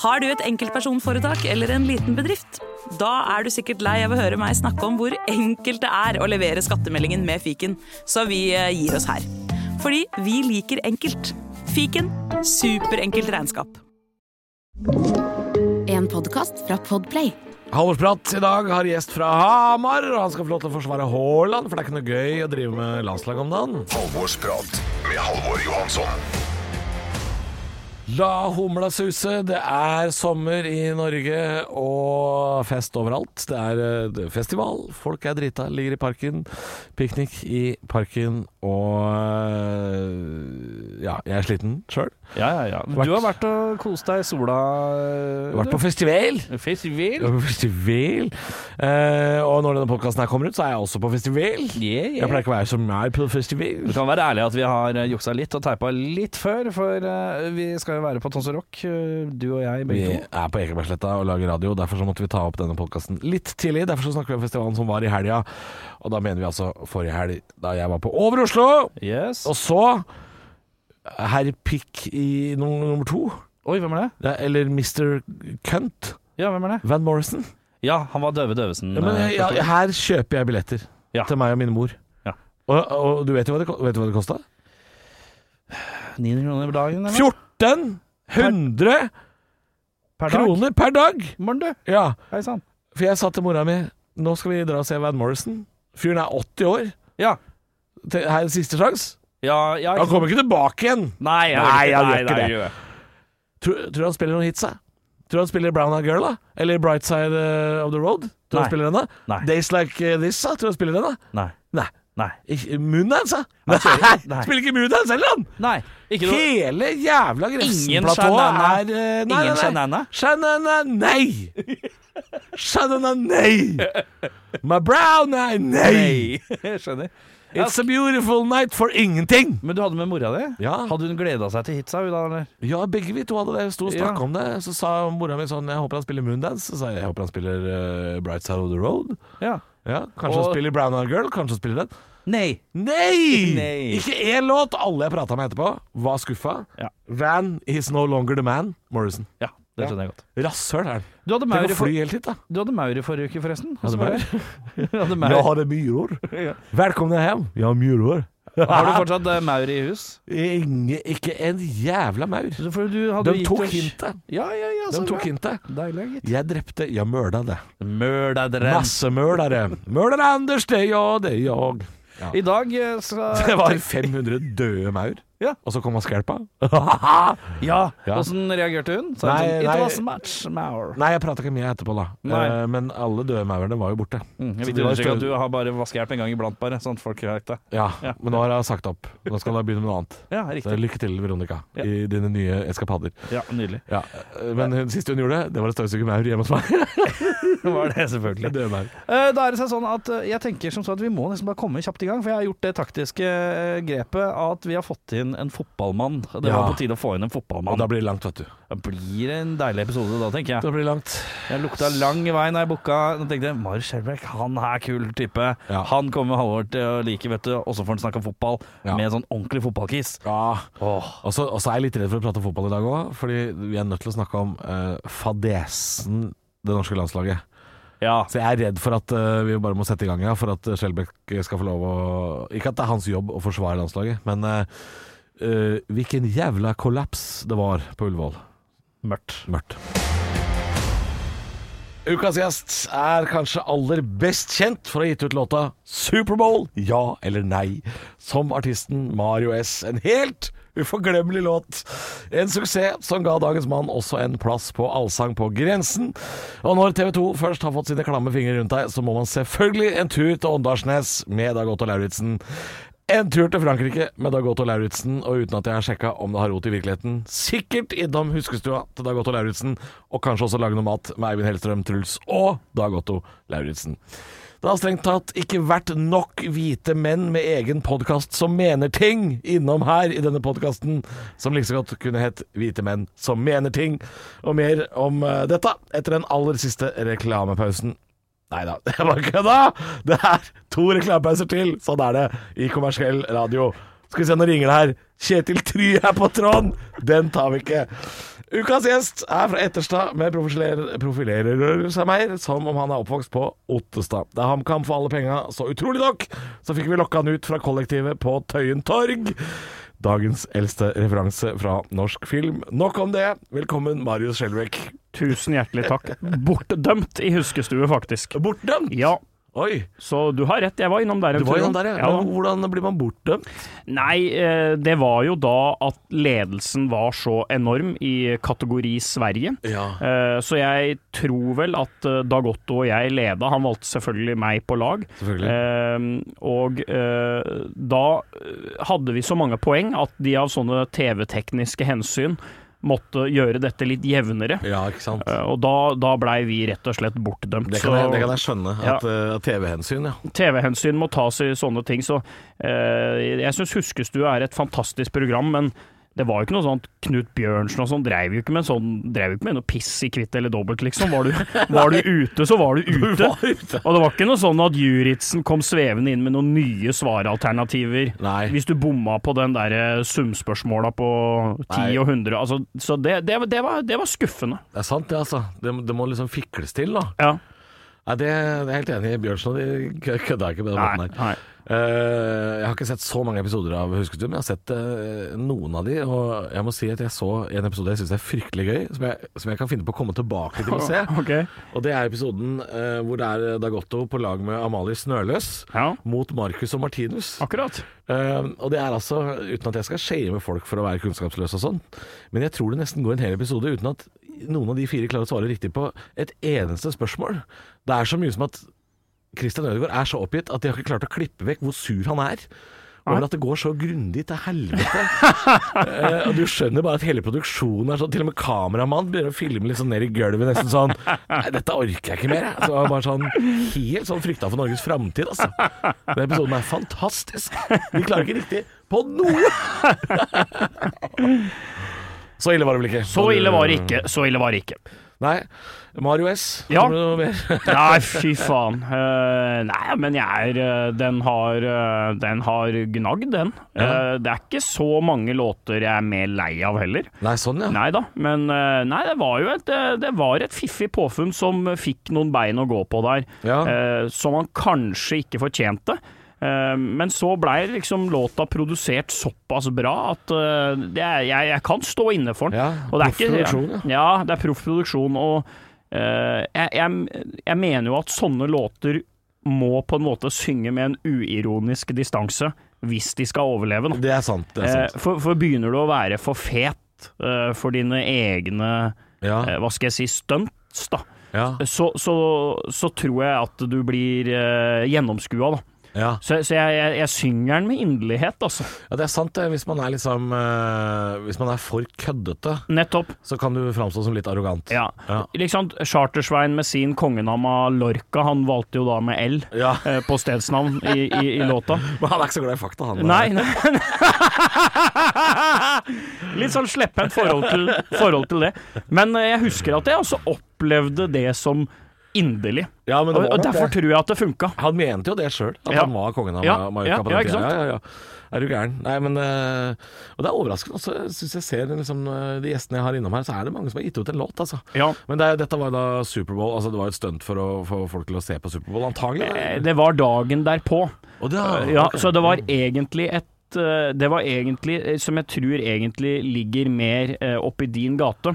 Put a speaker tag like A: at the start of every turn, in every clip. A: Har du et enkeltpersonforetak eller en liten bedrift? Da er du sikkert lei av å høre meg snakke om hvor enkelt det er å levere skattemeldingen med fiken, så vi eh, gir oss her. Fordi vi liker enkelt. Fiken superenkelt regnskap.
B: En podkast fra Podplay.
C: Halvorsprat i dag har gjest fra Hamar, og han skal få lov til å forsvare Haaland, for det er ikke noe gøy å drive med landslag om dagen.
D: Halvorsprat med Halvor Johansson.
C: La humla suse, det er sommer i Norge og fest overalt. Det er eh, det er festival, folk er drita, ligger i parken, piknik i parken og eh, Ja, jeg er sliten sjøl.
E: Ja, ja, ja. Men Du har vært og kost deg i sola. eh,
C: Vært på
E: du.
C: festival! Jeg
E: festival.
C: var På festival. Eh, og når denne podkasten her kommer ut, så er jeg også på festival.
E: Yeah, yeah.
C: Jeg pleier ikke å være så mye på festival.
E: Vi kan være ærlige at vi har eh, juksa litt og teipa litt før, for eh, vi skal jo være på Tons og Rock, eh, du og jeg
C: Vi
E: begge to.
C: er på Ekebergsletta og lager radio, derfor så måtte vi ta opp denne podkasten litt tidlig. Derfor så snakker vi om festivalen som var i helga, og da mener vi altså forrige helg, da jeg var på Over Oslo.
E: Yes.
C: Og så herr Pikk i num- nummer to,
E: Oi, hvem er det?
C: Det er- eller Mr. Cunt,
E: Ja, hvem er det?
C: Van Morrison.
E: Ja, han var Døve Døvesen.
C: Ja, men
E: eh,
C: jeg, jeg, her kjøper jeg billetter
E: Ja.
C: til meg og min mor.
E: Ja.
C: Og, og du vet jo hva det, ko- vet du hva det kosta?
E: 900 kroner per dagen, eller?
C: 1400
E: Per dag?
C: kroner per dag!
E: Morn, du.
C: Ja.
E: Hei sann.
C: For jeg sa til mora mi Nå skal vi dra og se Van Morrison Fyren er 80 år
E: Ja.
C: Te- Her er en siste sjans
E: Ja, ja
C: Han kommer ikke tilbake igjen
E: Nei, jeg
C: Nei, han
E: nei,
C: gjør ikke
E: nei,
C: det.
E: jeg gjør
C: Tror, tror du han spiller noen hits da? Tror du han spiller Brown Eyed Girl da? Eller Bright Side eh, of the Road? Tror du
E: Nei.
C: han spiller den da?
E: Nei.
C: Days Like eh, This da? Tror du han spiller den da?
E: Nei.
C: Nei
E: Nei.
C: Ikke- Moondance da? Nei.
E: kjører- Nei.
C: Spiller ikke Moondance heller han
E: Nei. Ikke noe
C: Hele jævla Grefsen-platået
E: Shanana.
C: er eh, nei,
E: Ingen
C: nei, nei.
E: Shanana?
C: Shanana, nei Shanana, nei My brown eye, nei.
E: Jeg skjønner.
C: It's a beautiful night for ingenting.
E: Men du hadde med mora di?
C: Ja.
E: Hadde hun gleda seg til hitsa? Hun da, eller?
C: Ja, begge vi to hadde det. Sto og snakka
E: Ja.
C: om det. Så sa mora mi sånn Jeg håper han spiller Moondance. Så sa jeg jeg håper han spiller eh, Bright Side of the Road.
E: Ja.
C: Ja, Kanskje
E: Og-
C: han spiller Brown Eyed Girl. Kanskje han spiller den.
E: Nei.
C: Nei!
E: Nei.
C: Ikke én låt! Alle jeg prata med etterpå, var skuffa.
E: Ja.
C: Van is no longer the man. Morrison.
E: Ja, det skjønner jeg godt.
C: Rasshøl er han.
E: Du hadde
C: Tenk
E: maur
C: å
E: i, for...
C: fly helt hit, da.
E: du hadde maur i forrige uke, forresten.
C: Hadde
E: Hvordan var det? Du hadde maur.
C: har det myror. Velkommen hjem. Jeg har myror.
E: Har du fortsatt eh, maur i hus?
C: Ingen, ikke en jævla maur.
E: Så For du hadde
C: De
E: gitt
C: tok
E: oss-
C: hintet.
E: Ja, ja, ja.
C: De
E: så
C: tok
E: bra.
C: hintet.
E: Deilig, gitt.
C: Jeg drepte Jeg mørda det.
E: Mørda
C: Masse mørdere. Mørder Anders, det er jeg, det er jeg.
E: I dag eh, skal
C: Det var 500 døde maur.
E: Ja.
C: Og så kom han skjelpa.
E: Ja,
C: Ja.
E: åssen reagerte hun? Sa hun
C: Nei,
E: sånn,
C: nei.
E: It was a match, maur.
C: Nei, jeg prata ikke mye etterpå, da.
E: Nei.
C: Eh, Men alle døde maurene var jo borte.
E: Mm,
C: Så
E: jeg
C: det
E: vil
C: var
E: understreke at
C: større-
E: du har bare vaskehjelp en gang iblant, bare. Sånn at folk vet det.
C: Ja,
E: Ja.
C: Men nå har jeg sagt opp. Nå skal jeg begynne med noe annet.
E: Ja,
C: Så
E: riktig.
C: lykke til, Veronica,
E: Ja.
C: i dine nye eskapader.
E: Ja, Nydelig.
C: Ja. eh, Men hun- sist hun gjorde det, det var å støvsuge maur hjemme hos meg.
E: Det var det, selvfølgelig.
C: Døde maur.
E: Eh, Da er det seg sånn at eh, jeg tenker som så at vi må nesten bare komme kjapt i gang, for jeg har gjort det taktiske eh, grepet at vi har fått inn en fotballmann. Det
C: Ja.
E: var på tide å få inn
C: Og
E: en
C: da
E: fotballmann.
C: blir det langt, vet du.
E: Det blir en deilig episode da, tenker jeg.
C: Da blir det langt.
E: Jeg lukta lang vei når jeg booka. Da tenkte jeg Marius Skjelbæk, han er kul type.
C: Ja.
E: Han kommer Halvor til å like, vet du. Og så får han snakke om fotball
C: Ja.
E: med en sånn ordentlig fotballkiss.
C: Ja.
E: Åh.
C: Og så og så er jeg litt redd for å prate om fotball i dag òg, fordi vi er nødt til å snakke om eh, fadesen det norske landslaget.
E: Ja.
C: Så jeg er redd for at eh, vi bare må sette i gang, ja, for at eh, Skjelbæk skal få lov å Ikke at det er hans jobb å forsvare landslaget, men eh, eh, hvilken jævla kollaps det var på Ullevål.
E: Mørkt.
C: Mørkt. Ukas gjest er kanskje aller best kjent for å ha gitt ut låta 'Superbowl ja eller nei' som artisten Mario S. En helt uforglemmelig låt. En suksess som ga dagens mann også en plass på Allsang på grensen. Og når TV 2 først har fått sine klamme fingre rundt deg, så må man selvfølgelig en tur til Åndalsnes med Dag Otto Lauritzen. En tur til Frankrike med Dag Otto Lauritzen, og uten at jeg har sjekka om det har rot i virkeligheten, sikkert innom huskestua til Dag Otto Lauritzen, og kanskje også lage noe mat med Eivind Hellstrøm, Truls og Dag Otto Lauritzen. Det har strengt tatt ikke vært nok hvite menn med egen podkast som mener ting innom her i denne podkasten, som like så godt kunne hett Hvite menn som mener ting. Og mer om eh, dette etter den aller siste reklamepausen. Nei da, jeg bare kødda! Det er to reklamepauser til, sånn er det i kommersiell radio. Skal vi se, nå ringer det her. Kjetil Try er på tråden! Den tar vi ikke. Ukas gjest er fra Etterstad, men profilerer, profilerer seg mer som om han er oppvokst på Ottestad. Da HamKam for alle penga, så utrolig nok, så fikk vi lokka han ut fra kollektivet på Tøyen torg. Dagens eldste referanse fra norsk film. Nok om det. Velkommen, Marius Skjelbæk.
F: Tusen hjertelig takk. Bortdømt i huskestue, faktisk.
C: Bortdømt!
F: Ja,
C: Oi,
F: så du har rett. Jeg var innom der en
C: du var jo han
F: tur.
C: der, ja.
F: Ja,
C: Men Hvordan blir man bortdømt?
F: Nei, eh, det var jo da at ledelsen var så enorm i kategori Sverige.
C: Ja.
F: Eh, Så jeg tror vel at eh, Dag Otto og jeg leda. Han valgte selvfølgelig meg på lag. Eh, Og eh, da eh, hadde vi så mange poeng at de av sånne TV-tekniske hensyn måtte gjøre dette litt jevnere.
C: Ja, ikke sant.
F: Eh, Og da, da blei vi rett og slett bortdømt.
C: Det kan,
F: Så-
C: jeg, det kan jeg skjønne.
F: Ja.
C: At eh, TV-hensyn, ja.
F: TV-hensyn må tas i sånne ting, så eh, jeg syns Huskestue er et fantastisk program, men det var jo ikke noe sånt Knut Bjørnsen og sånn dreiv jo ikke med sånn Dreiv jo ikke med noe piss i kvitt eller dobbelt, liksom. Var du, var du ute, så var du ute. Og det var ikke noe sånn at Juritzen kom svevende inn med noen nye svaralternativer.
C: Nei.
F: Hvis du bomma på den derre sumspørsmåla på 10
C: Nei.
F: og 100, altså Så det, det, var- det, var, det var skuffende.
C: Det er sant, det, altså. Det, det må liksom fikles til, da.
F: Ja.
C: Nei, det, det er jeg helt enig i. Bjørnsen og de kø- kødda ikke på den
F: Nei,
C: måten der.
F: nei.
C: Eh, jeg har ikke sett så mange episoder av Husketur, men jeg har sett eh, noen av de. Og jeg må si at jeg så en episode jeg syns er fryktelig gøy, som jeg, som jeg kan finne på å komme tilbake til å se.
F: Ok.
C: Og det er episoden eh, hvor det er Dagotto på lag med Amalie Snøløs
F: Ja.
C: mot Marcus og Martinus.
F: Akkurat.
C: Eh, og det er altså, uten at jeg skal shame folk for å være kunnskapsløs og sånn, men jeg tror det nesten går en hel episode uten at noen av de fire klarer å svare riktig på et eneste spørsmål. Det er så mye som at Christian Ødegaard er så oppgitt at de har ikke klart å klippe vekk hvor sur han er. Over at det går så grundig til helvete. Eh, og du skjønner bare at hele produksjonen er sånn. Til og med kameramannen begynner å filme litt sånn ned i gulvet, nesten sånn Nei, dette orker jeg ikke mer, jeg. Så det var bare sånn helt sånn frykta for Norges framtid, altså. Den episoden er fantastisk. Vi klarer ikke riktig på noe! Så ille var det vel ikke?
F: Så ille var det ikke. Så ille var det ikke.
C: Nei. Mario S.
F: Ja.
C: Har du noe mer?
F: Nei, fy faen. Eh, nei, men jeg er eh, Den har, eh, den har gnagd, den. Eh, det er ikke så mange låter jeg er mer lei av heller.
C: Nei, sånn ja.
F: Nei da, men eh, nei, det var jo et, eh, det var et fiffig påfunn som fikk noen bein å gå på der,
C: Ja.
F: eh, som han kanskje ikke fortjente. Eh, Men så blei liksom låta produsert såpass bra at eh, det er, jeg, jeg kan stå inne for den.
C: Ja,
F: Og det er
C: proff
F: ikke-
C: produksjon,
F: ja. det er proff produksjon. Og eh, jeg, jeg, jeg mener jo at sånne låter må på en måte synge med en uironisk distanse hvis de skal overleve. Da.
C: Det er sant. Det er sant.
F: Eh, For, for begynner du å være for fet eh, for dine egne,
C: Ja.
F: eh, hva skal jeg si, stunts, da,
C: Ja.
F: så, så, så tror jeg at du blir eh, gjennomskua, da.
C: ja.
F: Så, så jeg, jeg, jeg synger den med inderlighet, altså.
C: Ja, det er sant det. Hvis man er liksom eh, Hvis man er for køddete,
F: Nettopp.
C: så kan du framstå som litt arrogant.
F: Ja.
C: Ja.
F: Liksom, Chartersvein med sin kongenamma Lorca, han valgte jo da med L
C: Ja.
F: eh, på stedsnavn i, i, i låta.
C: Men han er ikke så glad i fakta, han.
F: Nei, nei. Litt sånn slepphendt forhold, til- forhold til det. Men eh, jeg husker at jeg også opplevde det som inderlig.
C: Ja, men
F: Og,
C: det var
F: og
C: nok
F: derfor
C: det.
F: tror jeg at det funka.
C: Han mente jo det sjøl, at
F: Ja.
C: han var kongen av
F: Ja,
C: Mallorca.
F: ja,
C: på den
F: ja,
C: tiden.
F: ikke sant?
C: Ja, ja, ja. Er du gæren? Nei, men eh, Og det er overraskende også, syns jeg ser liksom, eh, de gjestene jeg har innom her, så er det mange som har gitt ut en låt, altså.
F: Ja.
C: Men det, er- dette var jo da Superbowl, altså det var jo et stunt for å få folk til å se på Superbowl, antagelig.
F: Eh, Det var dagen derpå.
C: Og det, er-
F: Ja,
C: Ah, ok.
F: så det var egentlig et eh, Det var egentlig, eh, som jeg tror egentlig ligger mer eh, oppi din gate,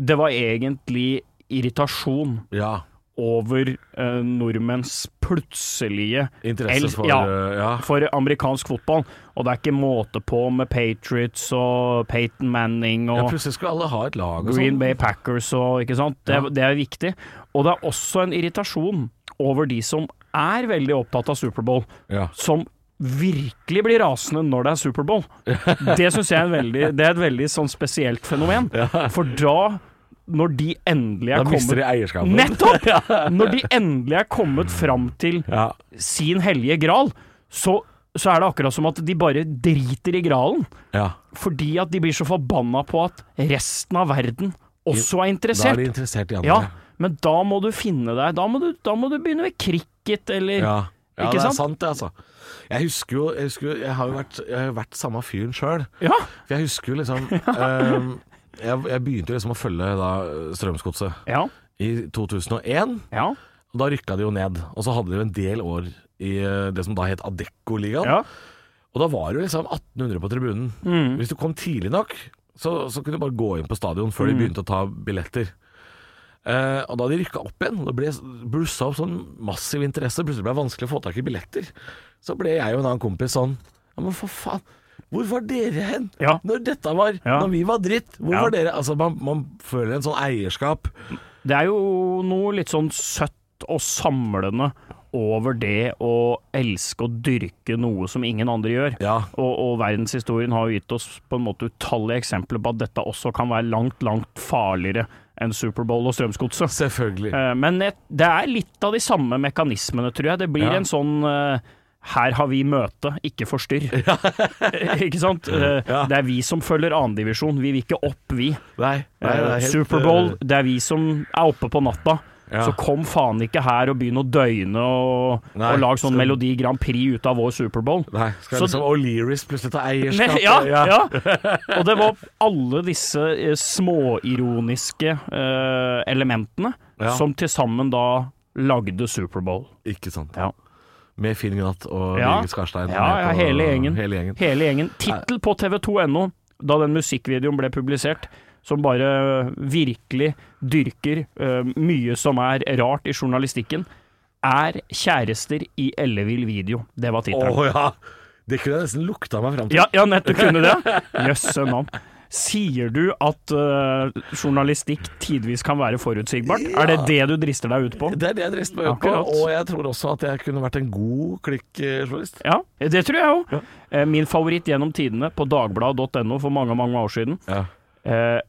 F: det var egentlig irritasjon
C: ja.
F: over eh, nordmenns plutselige
C: Interesse
F: El-
C: for
F: ja.
C: eh, ja.
F: for amerikansk fotball, og det er ikke måte på med Patriots og Peyton Manning
C: ja.
F: og
C: Plutselig skulle alle ha et lag og
F: Green
C: sånn.
F: Bay Packers og ikke sant. Det,
C: Ja.
F: det er viktig. Og det er også en irritasjon over de som er veldig opptatt av Superbowl,
C: Ja.
F: som virkelig blir rasende når det er Superbowl. Det syns jeg er, en veldig, det er et veldig sånn spesielt fenomen. For da, når de endelig
C: Da
F: er
C: mister de
F: kommet
C: eierskapet.
F: Nettopp! Når de endelig er kommet fram til
C: Ja.
F: sin hellige gral, så, så er det akkurat som at de bare driter i gralen.
C: ja.
F: Fordi at de blir så forbanna på at resten av verden også er
C: Da er
F: interessert.
C: de interessert i andre.
F: Ja, men da må du finne deg Da må du, da må du begynne med cricket, eller
C: Ja, ja
F: Ikke
C: det er
F: sant?
C: sant det, altså. Jeg husker jo Jeg, husker, jo- jeg har jo vært, jeg har jo vært samme fyren sjøl.
F: Ja,
C: For jeg husker jo liksom ehm, jeg, jeg begynte jo liksom å følge da Strømsgodset
F: Ja,
C: i 2001.
F: ja,
C: og Da rykka de jo ned. Og så hadde de jo en del år i eh, det som da het Adecco-ligaen.
F: ja.
C: Og da var det jo liksom 1800 på tribunen.
F: Mm.
C: Hvis du kom tidlig nok, så, så kunne du bare gå inn på stadion før
F: Mm.
C: de begynte å ta billetter. Eh, og da de rykka opp igjen, og det ble blussa opp sånn massiv interesse, plutselig ble det vanskelig å få tak i billetter, så ble jeg og en annen kompis sånn Ja, men for faen. Hvor var dere hen
F: Ja.
C: når dette var?
F: Ja.
C: Når vi var dritt? Hvor
F: Ja.
C: var dere? Altså, man, man føler en sånn eierskap.
F: Det er jo noe litt sånn søtt og samlende over det å elske og dyrke noe som ingen andre gjør.
C: Ja.
F: Og, og verdenshistorien har jo gitt oss på en måte utallige eksempler på at dette også kan være langt, langt farligere enn Superbowl og Strømsgodset.
C: Selvfølgelig.
F: Eh, Men et- det er litt av de samme mekanismene, tror jeg. Det blir
C: Ja.
F: en sånn eh, her har vi møte, ikke forstyrr. ikke sant? Eh,
C: Ja.
F: Det er vi som følger annendivisjon. Vi vil ikke opp, vi.
C: Nei, nei, det er helt,
F: Superbowl,
C: eh,
F: det er vi som er oppe på natta.
C: Ja.
F: Så kom faen ikke her og begynn å døgne og,
C: Nei,
F: og lag sånn
C: skal-
F: Melodi Grand Prix ut av vår Superbowl.
C: Nei, skal
F: Så-
C: liksom O'Learys plutselig ta
F: Nei,
C: eierskap?
F: ja, ja. Og det var alle disse eh, småironiske eh, elementene
C: Ja.
F: som til sammen da lagde Superbowl.
C: Ikke sant.
F: Ja.
C: Med Finn Gnatt og
F: Ja.
C: Birgit Skarstein.
F: Ja,
C: med
F: ja,
C: på-
F: hele gjengen.
C: Hele gjengen.
F: Hele gjengen. Tittel på tv2.no da den musikkvideoen ble publisert, som bare virkelig dyrker eh, mye som er rart i journalistikken, er 'Kjærester i ellevill video'. Det var
C: Å
F: tittelen.
C: ja! Det kunne jeg nesten lukta meg fram til.
F: Ja, ja, nettopp kunne det. Jøsse navn. Sier du at eh, journalistikk tidvis kan være forutsigbart? Er det det du drister deg ut på?
C: Det er det jeg drister meg ut på,
F: Akkurat.
C: og jeg tror også at jeg kunne vært en god klikkjournalist.
F: Ja, det tror jeg òg. Min favoritt gjennom tidene på dagbladet.no for mange, mange år siden.
C: Ja.
F: Eh,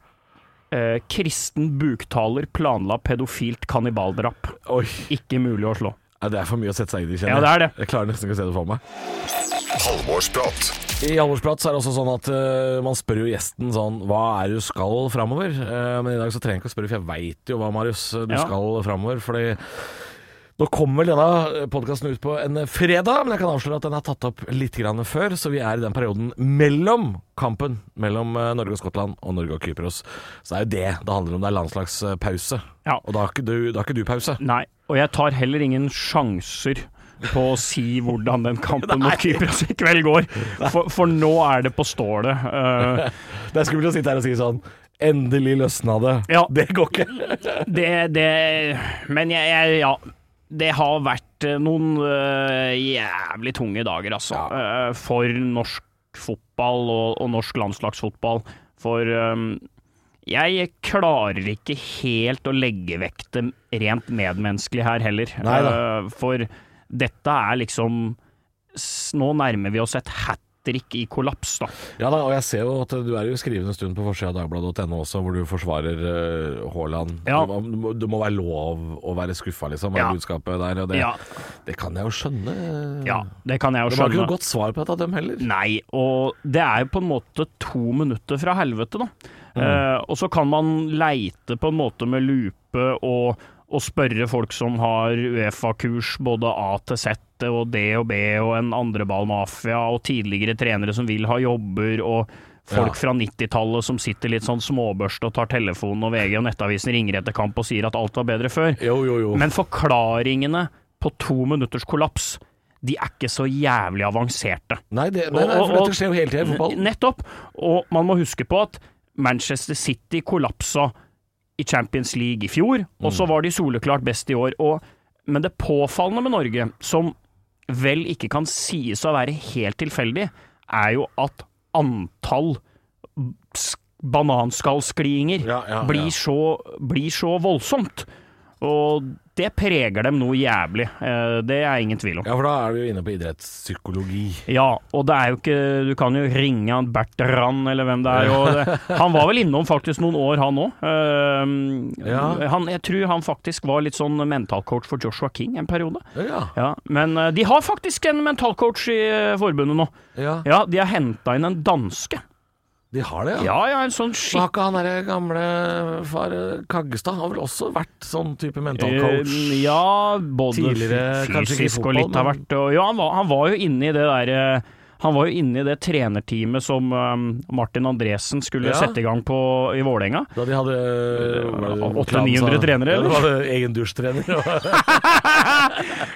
F: eh, kristen buktaler planla pedofilt kannibaldrap.
C: Oi,
F: Ikke mulig å slå.
C: ja, det er for mye å sette seg inn i, kjenner
F: Ja, det er det.
C: Jeg klarer nesten ikke å se det for meg.
D: Halvorsprat.
C: I Halvorsprat så er det også sånn at eh, man spør jo gjesten sånn Hva er det du skal framover? Eh, men i dag så trenger jeg ikke å spørre, for jeg veit jo hva, Marius, eh, du
F: Ja.
C: skal framover. Fordi nå kommer vel denne podkasten ut på en fredag, men jeg kan avsløre at den er tatt opp litt grann før. Så vi er i den perioden mellom kampen mellom eh, Norge og Skottland og Norge og Kypros. Så det er jo det det handler om. Det er landslagspause.
F: Ja.
C: Og da har ikke du, da har ikke du pause.
F: Nei, og jeg tar heller ingen sjanser på å si hvordan den kampen mot Kypros i kveld går, for, for nå er det på stålet. Eh,
C: Det er skummelt å sitte her og si sånn Endelig løsna det.
F: Ja.
C: Det går ikke.
F: det, det Men jeg, jeg Ja. Det har vært eh, noen eh, jævlig tunge dager, altså. eh, for norsk fotball og, og norsk landslagsfotball. For eh, jeg klarer ikke helt å legge vekk det rent medmenneskelige her heller.
C: Neida.
F: Eh, For dette er liksom s- Nå nærmer vi oss et hat trick i kollaps, da.
C: Ja da, og jeg ser jo at du er jo skrivende stund på forsida av dagbladet.no også, hvor du forsvarer eh, Haaland.
F: Ja.
C: Det, må, det må være lov å være skuffa, liksom, er
F: Ja.
C: budskapet der. Og det,
F: Ja,
C: det kan jeg jo skjønne.
F: ja det kan jeg Mm.
C: Det var
F: jo
C: ikke
F: skjønne.
C: noe godt svar på dette, dem heller.
F: Nei, og det er jo på en måte to minutter fra helvete, da.
C: Mm.
F: Eh, og så kan man leite på en måte med lupe og, og spørre folk som har Uefa-kurs både A til Z og D og B og en andreballmafia og tidligere trenere som vil ha jobber og folk
C: Ja.
F: fra 90-tallet som sitter litt sånn småbørst og tar telefonen og VG og Nettavisen ringer etter kamp og sier at alt var bedre før.
C: Jo, jo, jo.
F: Men forklaringene på to minutters kollaps, de er ikke så jævlig avanserte.
C: nei, det, nei, nei,
F: Og-
C: for
F: og-
C: dette skjer jo hele tida i fotball.
F: Nettopp. Og man må huske på at Manchester City kollapsa i Champions League i fjor,
C: Mm.
F: og så var de soleklart best i år. Og, men det påfallende med Norge, som vel ikke kan sies å være helt tilfeldig, er jo at antall sk- bananskallskliinger
C: Ja, ja, ja.
F: blir, så- blir så voldsomt. Og det preger dem noe jævlig. Eh, Det er ingen tvil om.
C: Ja, for da er du jo inne på idrettspsykologi.
F: Ja, og det er jo ikke Du kan jo ringe han Bertrand eller hvem det er. Og det, han var vel innom faktisk noen år, han òg.
C: Ja.
F: han, jeg tror han faktisk var litt sånn mentalcoach for Joshua King en periode.
C: Ja,
F: Ja, men eh, de har faktisk en mentalcoach i eh, forbundet nå.
C: ja.
F: Ja, De har henta inn en danske.
C: De har det, ja.
F: Ja, ja, en sånn
C: Så har
F: skikk...
C: ikke han derre gamle far eh, Kaggestad har vel også vært sånn type mental coach?
F: Eh, Ja, både
C: Tidligere, kanskje ikke i
F: fysisk
C: fotball,
F: og litt har
C: men-
F: vært og, Ja, han var, han var jo inne i det derre eh, Han var jo inne i det trenerteamet som eh, Martin Andresen skulle
C: Ja.
F: sette i gang på i Vålerenga.
C: Da de hadde hva var det,
F: 800-900 trenere,
C: Ja,
F: eller?
C: det var det egen dusjtrener. og-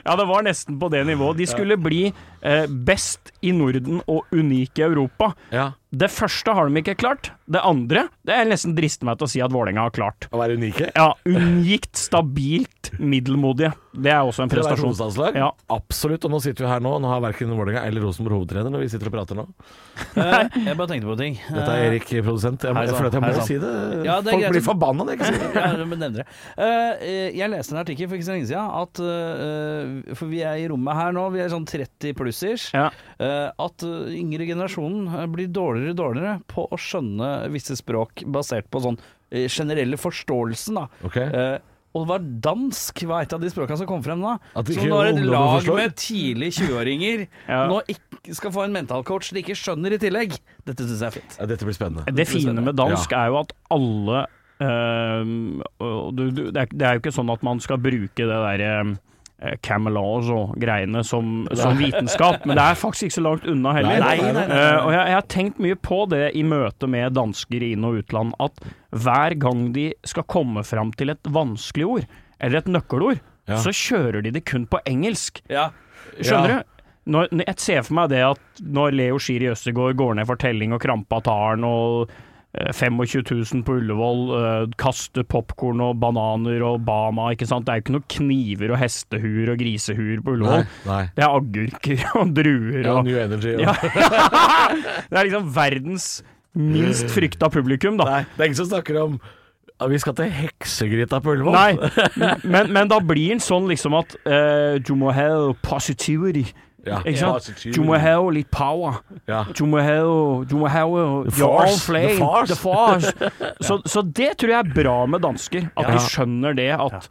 F: Ja, det var nesten på det nivået. De skulle bli eh, best i Norden og unik i Europa.
C: ja.
F: Det første har de ikke klart. Det andre det er nesten driste meg til å si at Vålerenga har klart.
C: Å være unike.
F: Ja, unikt, stabilt, middelmodige. Det er også en
C: Til å være
F: prestasjon.
C: hovedstadslag?
F: Ja.
C: Absolutt. Og nå sitter vi her nå. Nå har verken Vålerenga eller Rosenborg hovedtrener når vi sitter og prater nå.
E: jeg bare tenkte på en ting.
C: Dette er Erik, eh, produsent. Jeg, må,
E: Hei
C: jeg
E: sann,
C: føler at jeg
E: hei
C: må
E: sann.
C: si det.
E: Ja, det er
C: Folk
E: greit.
C: blir forbanna når jeg ikke sier det.
E: Ja, men nevner det. Eh, eh, jeg leste en artikkel for ikke så lenge siden at eh, For vi er i rommet her nå, vi er sånn 30 plussers.
F: Ja.
E: eh, at eh, yngre generasjonen eh, blir dårligere og dårligere på å skjønne visse språk basert på sånn eh, generelle forståelsen, da.
C: Ok.
E: Eh, og det var dansk var et av de språka som kom frem da.
C: At
E: Så
C: ikke
E: når et
C: ungdommen
E: lag
C: forstår.
E: med tidlig 20-åringer
F: Ja.
E: nå ikke skal få en mentalcoach de ikke skjønner i tillegg, dette syns jeg er fint.
C: Ja, dette blir spennende.
F: Det fine med dansk er jo at alle eh, og du, du, det, er, det er jo ikke sånn at man skal bruke det derre eh, Camelage og greiene som, som vitenskap, men det er faktisk ikke så langt unna heller.
C: Nei, nei, nei, nei,
F: Eh, og jeg, jeg har tenkt mye på det i møte med dansker i inn- og utland, at hver gang de skal komme fram til et vanskelig ord, eller et nøkkelord,
C: Ja.
F: så kjører de det kun på engelsk.
E: Ja.
F: Eh, Skjønner
C: Ja.
F: du? Når, når jeg ser for meg det at når Leo Schiri Østegård går ned for telling og krampa tar han og eh, 25 000 på Ullevål, eh, kaster popkorn og bananer og Bama, ikke sant. Det er jo ikke noe kniver og hestehur og grisehuer på
C: Nei.
F: Ullevål.
C: nei.
F: Det er agurker og druer
C: Ja,
F: og
C: New Energy. og-
F: Ja. Det er liksom verdens minst frykta publikum, da.
C: Nei, det er ingen som snakker om «Ja, vi skal til heksegryta på Ullevål.
F: Nei, men, men da blir den sånn liksom at eh, du må ha positivity.
C: Ja.
F: Ikke sant?
C: Positivity.
F: Du må ha litt power.
C: Ja.
F: Du må ha, du må ha your
C: force,
F: own flame.
C: Ah. the force.
F: The force. så, så det tror jeg er bra med dansker. At
C: Ja.
F: de skjønner det at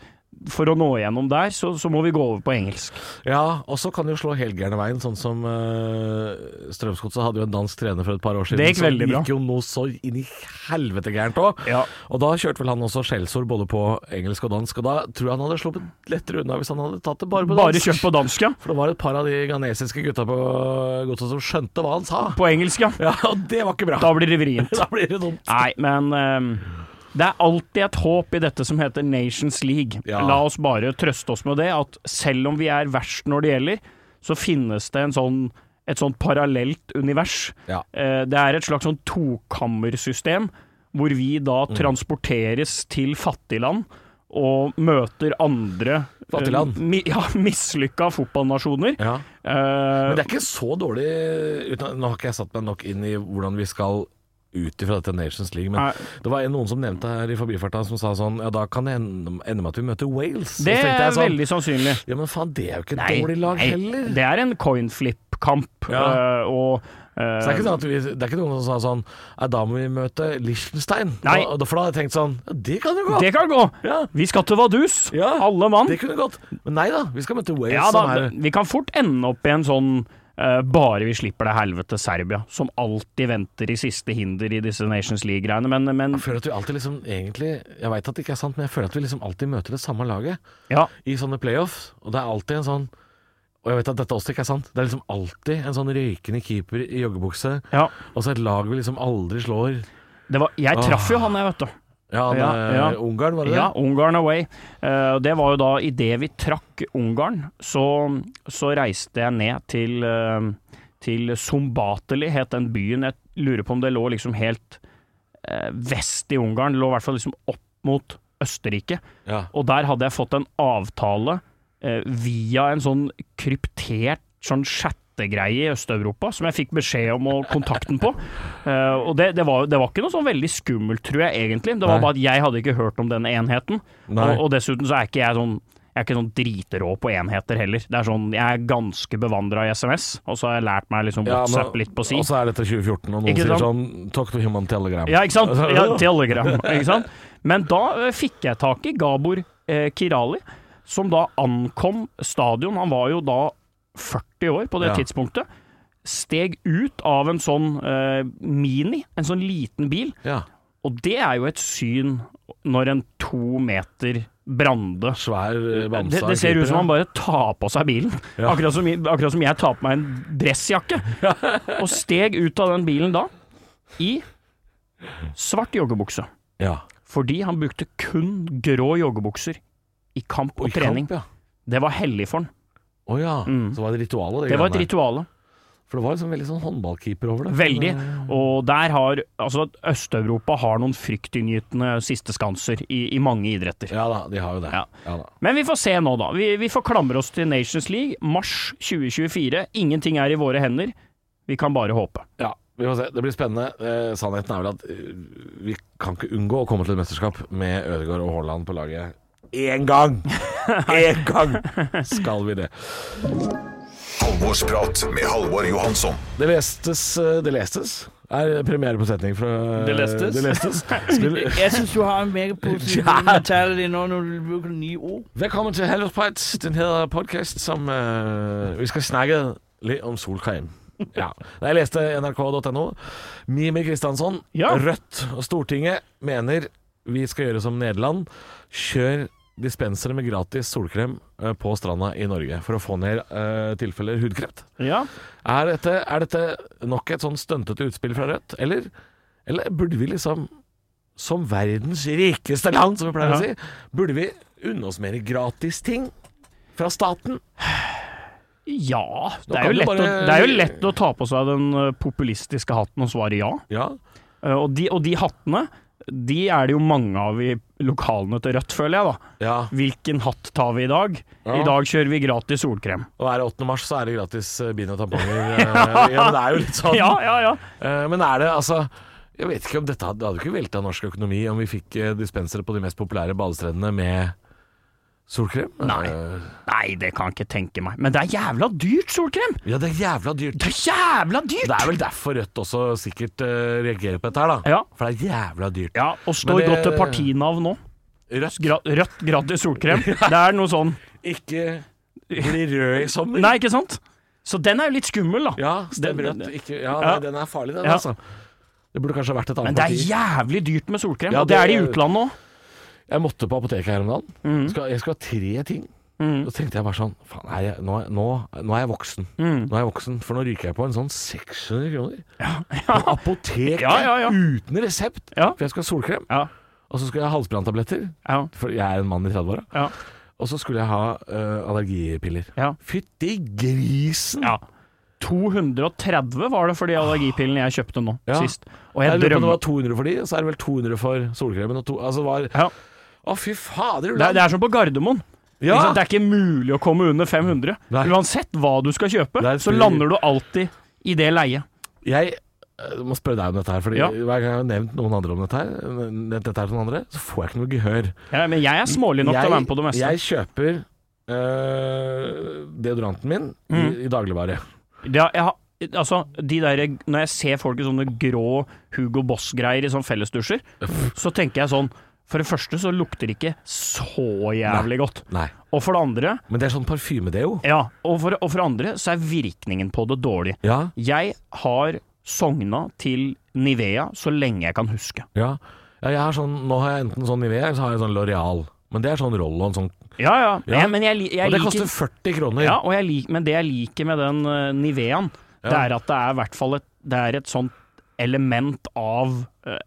F: for å nå igjennom der, så, så må vi gå over på engelsk.
C: Ja, og så kan det jo slå helgærne veien, sånn som uh, Strømsgodset hadde jo en dansk trener for et par år siden.
F: Det gikk veldig bra.
C: Som gikk jo noe så inn i helvete gærent òg.
F: Ja.
C: Og da kjørte vel han også skjellsord både på engelsk og dansk, og da tror jeg han hadde sluppet lettere unna hvis han hadde tatt det bare på
F: Bare
C: dansk.
F: kjøpt på dansk, ja.
C: For det var et par av de ghanesiske gutta på godset som skjønte hva han sa.
F: På engelsk, ja.
C: Ja, og det var ikke bra.
F: Da blir det vrient.
C: Da blir det dumt.
F: Nei, men ehm, det er alltid et håp i dette som heter Nations League.
C: Ja.
F: La oss bare trøste oss med det, at selv om vi er verst når det gjelder, så finnes det en sånn, et sånn parallelt univers.
C: Ja.
F: Eh, det er et slags sånn tokammersystem, hvor vi da
C: Mm.
F: transporteres til fattigland og møter andre
C: Fattigland.
F: eh, mi, ja, mislykka fotballnasjoner.
C: Ja.
F: Eh,
C: Men det er ikke så dårlig uten, Nå har ikke jeg satt meg nok inn i hvordan vi skal ut ifra dette Nations League, men
F: Nei.
C: det var en- noen som nevnte her i forbifarta som sa sånn Ja, da kan det ende, ende med at vi møter Wales. Så
F: det
C: tenkte jeg
F: er
C: sånn,
F: veldig sannsynlig.
C: Ja, men faen, det er jo ikke et
F: Nei,
C: dårlig lag
F: nei,
C: heller.
F: Det er en coinflip-kamp.
C: Ja.
F: eh, og eh,
C: Så det er, ikke sånn at vi, det er ikke noen som sa sånn Nei, da må vi møte Liechtenstein.
F: Nei.
C: Og, og for da hadde jeg tenkt sånn Ja, det kan jo gå.
F: det kan gå!
C: Ja.
F: Vi skal til Vadus,
C: Ja,
F: alle mann.
C: Det kunne gått. Men nei da, vi skal møte Wales.
F: Ja,
C: som
F: da,
C: er,
F: vi kan fort ende opp i en sånn eh, bare vi slipper det helvete Serbia, som alltid venter i siste hinder i disse Nations League-greiene. Men, men
C: jeg føler at vi alltid liksom egentlig Jeg veit at det ikke er sant, men jeg føler at vi liksom alltid møter det samme laget.
F: ja,
C: i sånne playoffs, og det er alltid en sånn og jeg vet at dette også ikke er sant. Det er liksom alltid en sånn røykende keeper i joggebukse,
F: ja.
C: og så et lag vi liksom aldri slår.
F: Det var, jeg traff jo han, jeg, vet du.
C: Ja, han,
F: Ja,
C: eh,
F: ja.
C: Ungarn, var det
F: Ja, Ungarn away. Eh, og det var jo da idet vi trakk Ungarn, så, så reiste jeg ned til, eh, til Sombateli, het den byen. Jeg lurer på om det lå liksom helt eh, vest i Ungarn. Det lå i hvert fall liksom opp mot Østerrike.
C: det? Ja.
F: Og der hadde jeg fått en avtale eh, via en sånn kryptert sånn chattegreie i Øst-Europa, som jeg fikk beskjed om å kontakte den på. Eh, og det, det, var, det var ikke noe sånn veldig skummelt, tror jeg egentlig. Det var
C: Nei.
F: bare at jeg hadde ikke hørt om denne enheten.
C: Nei.
F: Og, og dessuten så er ikke jeg sånn jeg er ikke sånn dritrå på enheter heller. Det er sånn, Jeg er ganske bevandra i SMS, og så har jeg lært meg
C: Ja,
F: liksom
C: men- altså,
F: WhatsApp litt på si.
C: Og så er dette 2014, og noen
F: Ikke
C: sier
F: sant?
C: sånn Talk to human telegram.
F: Ja, ikke sant?
C: Altså,
F: Ja, telegram, ikke sant? Men da eh, fikk jeg tak i Gabor eh, Kirali, som da ankom stadion. Han var jo da 40 år på det
C: Ja.
F: tidspunktet. Steg ut av en sånn eh, Mini, en sånn liten bil,
C: Ja.
F: Og det er jo et syn når en to meter Brande
C: Svær eh, bamse.
F: det,
C: av
F: det ser
C: keeper,
F: ut som han bare tar på seg bilen.
C: Ja.
F: Akkurat, som, akkurat som jeg tar på meg en dressjakke. Og steg ut av den bilen da, i svart joggebukse.
C: ja.
F: Fordi han brukte kun grå joggebukser i kamp og,
C: Og i
F: trening.
C: kamp, ja.
F: Det var hellig for han.
C: Å ja. Så var det ritualet, det.
F: Det var et
C: greiene der.
F: rituale.
C: For det var liksom veldig sånn håndballkeeper over det. eh,
F: Veldig.
C: Mm.
F: Og der har Altså, Øst-Europa har noen fryktinngytende sisteskanser i, i mange idretter.
C: Ja da, de har jo det.
F: Ja.
C: Ja da.
F: Men vi får se nå, da. Vi, vi får klamre oss til Nations League. Mars 2024. Ingenting er i våre hender. Vi kan bare håpe.
C: Ja, vi får se. Det blir spennende. Eh, sannheten er vel at eh, vi kan ikke unngå å komme til et mesterskap med Ødegaard og Haaland på laget. Én gang! Én gang skal vi det.
D: Halvorsprat med Halvor Johansson.
C: Det lestes, eh, det lestes er premiere på setning fra
E: Det lestes?
C: Det lestes. Skulle-
G: Jeg syns du har en megapositiv
C: Ja.
G: kommentar i det nå når du bruker nye ord.
C: Velkommen til Halvdagsprat. Den hedder podcast som eh, Vi skal snakke litt om solkrem. Ja. Jeg leste nrk.no. Mimi Kristiansson,
F: Ja.
C: Rødt og Stortinget mener vi skal gjøre som Nederland. Kjør dispensere med gratis solkrem eh, på stranda i Norge for å få ned eh, tilfeller hudkreft.
F: Ja.
C: Er dette, er dette nok et sånn stuntete utspill fra Rødt, eller, eller burde vi liksom, som verdens rikeste land, som vi pleier å
F: Ja.
C: si, burde vi unne oss mer gratis ting fra staten?
F: Ja det
C: Da
F: er,
C: kan
F: jo
C: du
F: lett
C: bare-
F: å, det er jo lett å ta på seg den eh, populistiske hatten og svare ja.
C: Ja,
F: Eh, Og de, og de hattene, de er det jo mange av i lokalene til Rødt, føler jeg, da.
C: ja.
F: Hvilken hatt tar vi i dag?
C: Ja.
F: I dag kjører vi gratis solkrem.
C: Og er det 8. mars, så er det gratis eh, bind og tamponger. Eh, ja, men det er jo litt sånn.
F: Ja, ja, ja.
C: Eh, Men er det altså Jeg vet ikke om dette hadde, det hadde ikke velta norsk økonomi om vi fikk eh, dispensere på de mest populære badestrendene med solkrem?
F: Nei.
C: Eh,
F: Nei, det kan jeg ikke tenke meg. Men det er jævla dyrt solkrem!
C: Ja, det er jævla dyrt.
F: Det er jævla
C: Det
F: dyrt!
C: er vel derfor Rødt også sikkert eh, reagerer på dette her, da.
F: Ja.
C: For det er jævla dyrt.
F: Ja, og står
C: Men det-
F: godt til partinavn nå.
C: Rødt
F: Gra rødt gratis solkrem. Det er noe sånn
C: ikke blir rød i sommer.
F: Nei, ikke sant? Så den er jo litt skummel, da.
C: Ja, stemmer
F: Den-
C: rødt. Ikke, ja, nei,
F: Ja.
C: den er farlig, den,
F: Ja.
C: altså. Det burde kanskje vært et
F: Men
C: annet
F: det er
C: parti.
F: jævlig dyrt med solkrem,
C: Ja,
F: og det er det i
C: det-
F: utlandet òg.
C: Jeg måtte på apoteket her om dagen.
F: Mm.
C: Skal, jeg skal ha tre ting. Så tenkte jeg bare sånn Faen, er jeg, nå, nå, nå er jeg voksen.
F: Mm.
C: Nå er jeg voksen, For nå ryker jeg på en sånn 600 kroner. På apoteket
F: Ja, ja, ja.
C: uten resept.
F: Ja.
C: For jeg skal ha solkrem.
F: Ja.
C: Og så skal jeg ha halsbranntabletter.
F: Ja.
C: For jeg er en mann i 30-åra.
F: Ja.
C: Og så skulle jeg ha eh, allergipiller.
F: Ja.
C: Fytti grisen!
F: ja. 230 var det for de allergipillene jeg kjøpte nå
C: Ja.
F: sist. Og
C: Jeg
F: jeg
C: lurer på om det
F: drømmer
C: var 200 for de, og så er det vel 200 for solkremen. Og to, altså det var,
F: ja.
C: å, fy fader!
F: det, er, det er som på Gardermoen.
C: ja.
F: Ikke sant? Det er ikke mulig å komme under 500.
C: Nei.
F: Uansett hva du skal
C: Det
F: kjøpe,
C: er et
F: så
C: spill.
F: lander du alltid i det leiet.
C: Jeg eh, må spørre deg om dette her, Fordi
F: Ja.
C: hver gang jeg har nevnt noen andre om dette her, nevnt dette her til noen andre, så får jeg ikke noe gehør.
F: Ja, men jeg er smålig nok til å være med på det meste.
C: jeg kjøper eh, deodoranten min i,
F: Mm.
C: i dagligvare.
F: Det, har- jeg har, altså, de der, når jeg ser folk i sånne grå Hugo Boss-greier i sånne fellesdusjer, så tenker jeg sånn For det første så lukter det ikke så jævlig godt.
C: Nei.
F: Og for det andre
C: Men det er sånn parfymedeo.
F: Ja, og for, og for det andre så er virkningen på det dårlig.
C: Ja.
F: Jeg har sogna til Nivea så lenge jeg kan huske.
C: Ja. ja jeg har sånn, nå har jeg enten sånn Nivea eller så har jeg sånn Loreal. Men det er sånn roll-on. Sånn,
F: Ja, ja.
C: Ja.
F: Men jeg, li- jeg
C: og det
F: liker-
C: koster 40 kroner.
F: Ja, og jeg lik, men det jeg liker med den eh, Niveaen, det er at det er i hvert fall et, det er et sånt element av eh,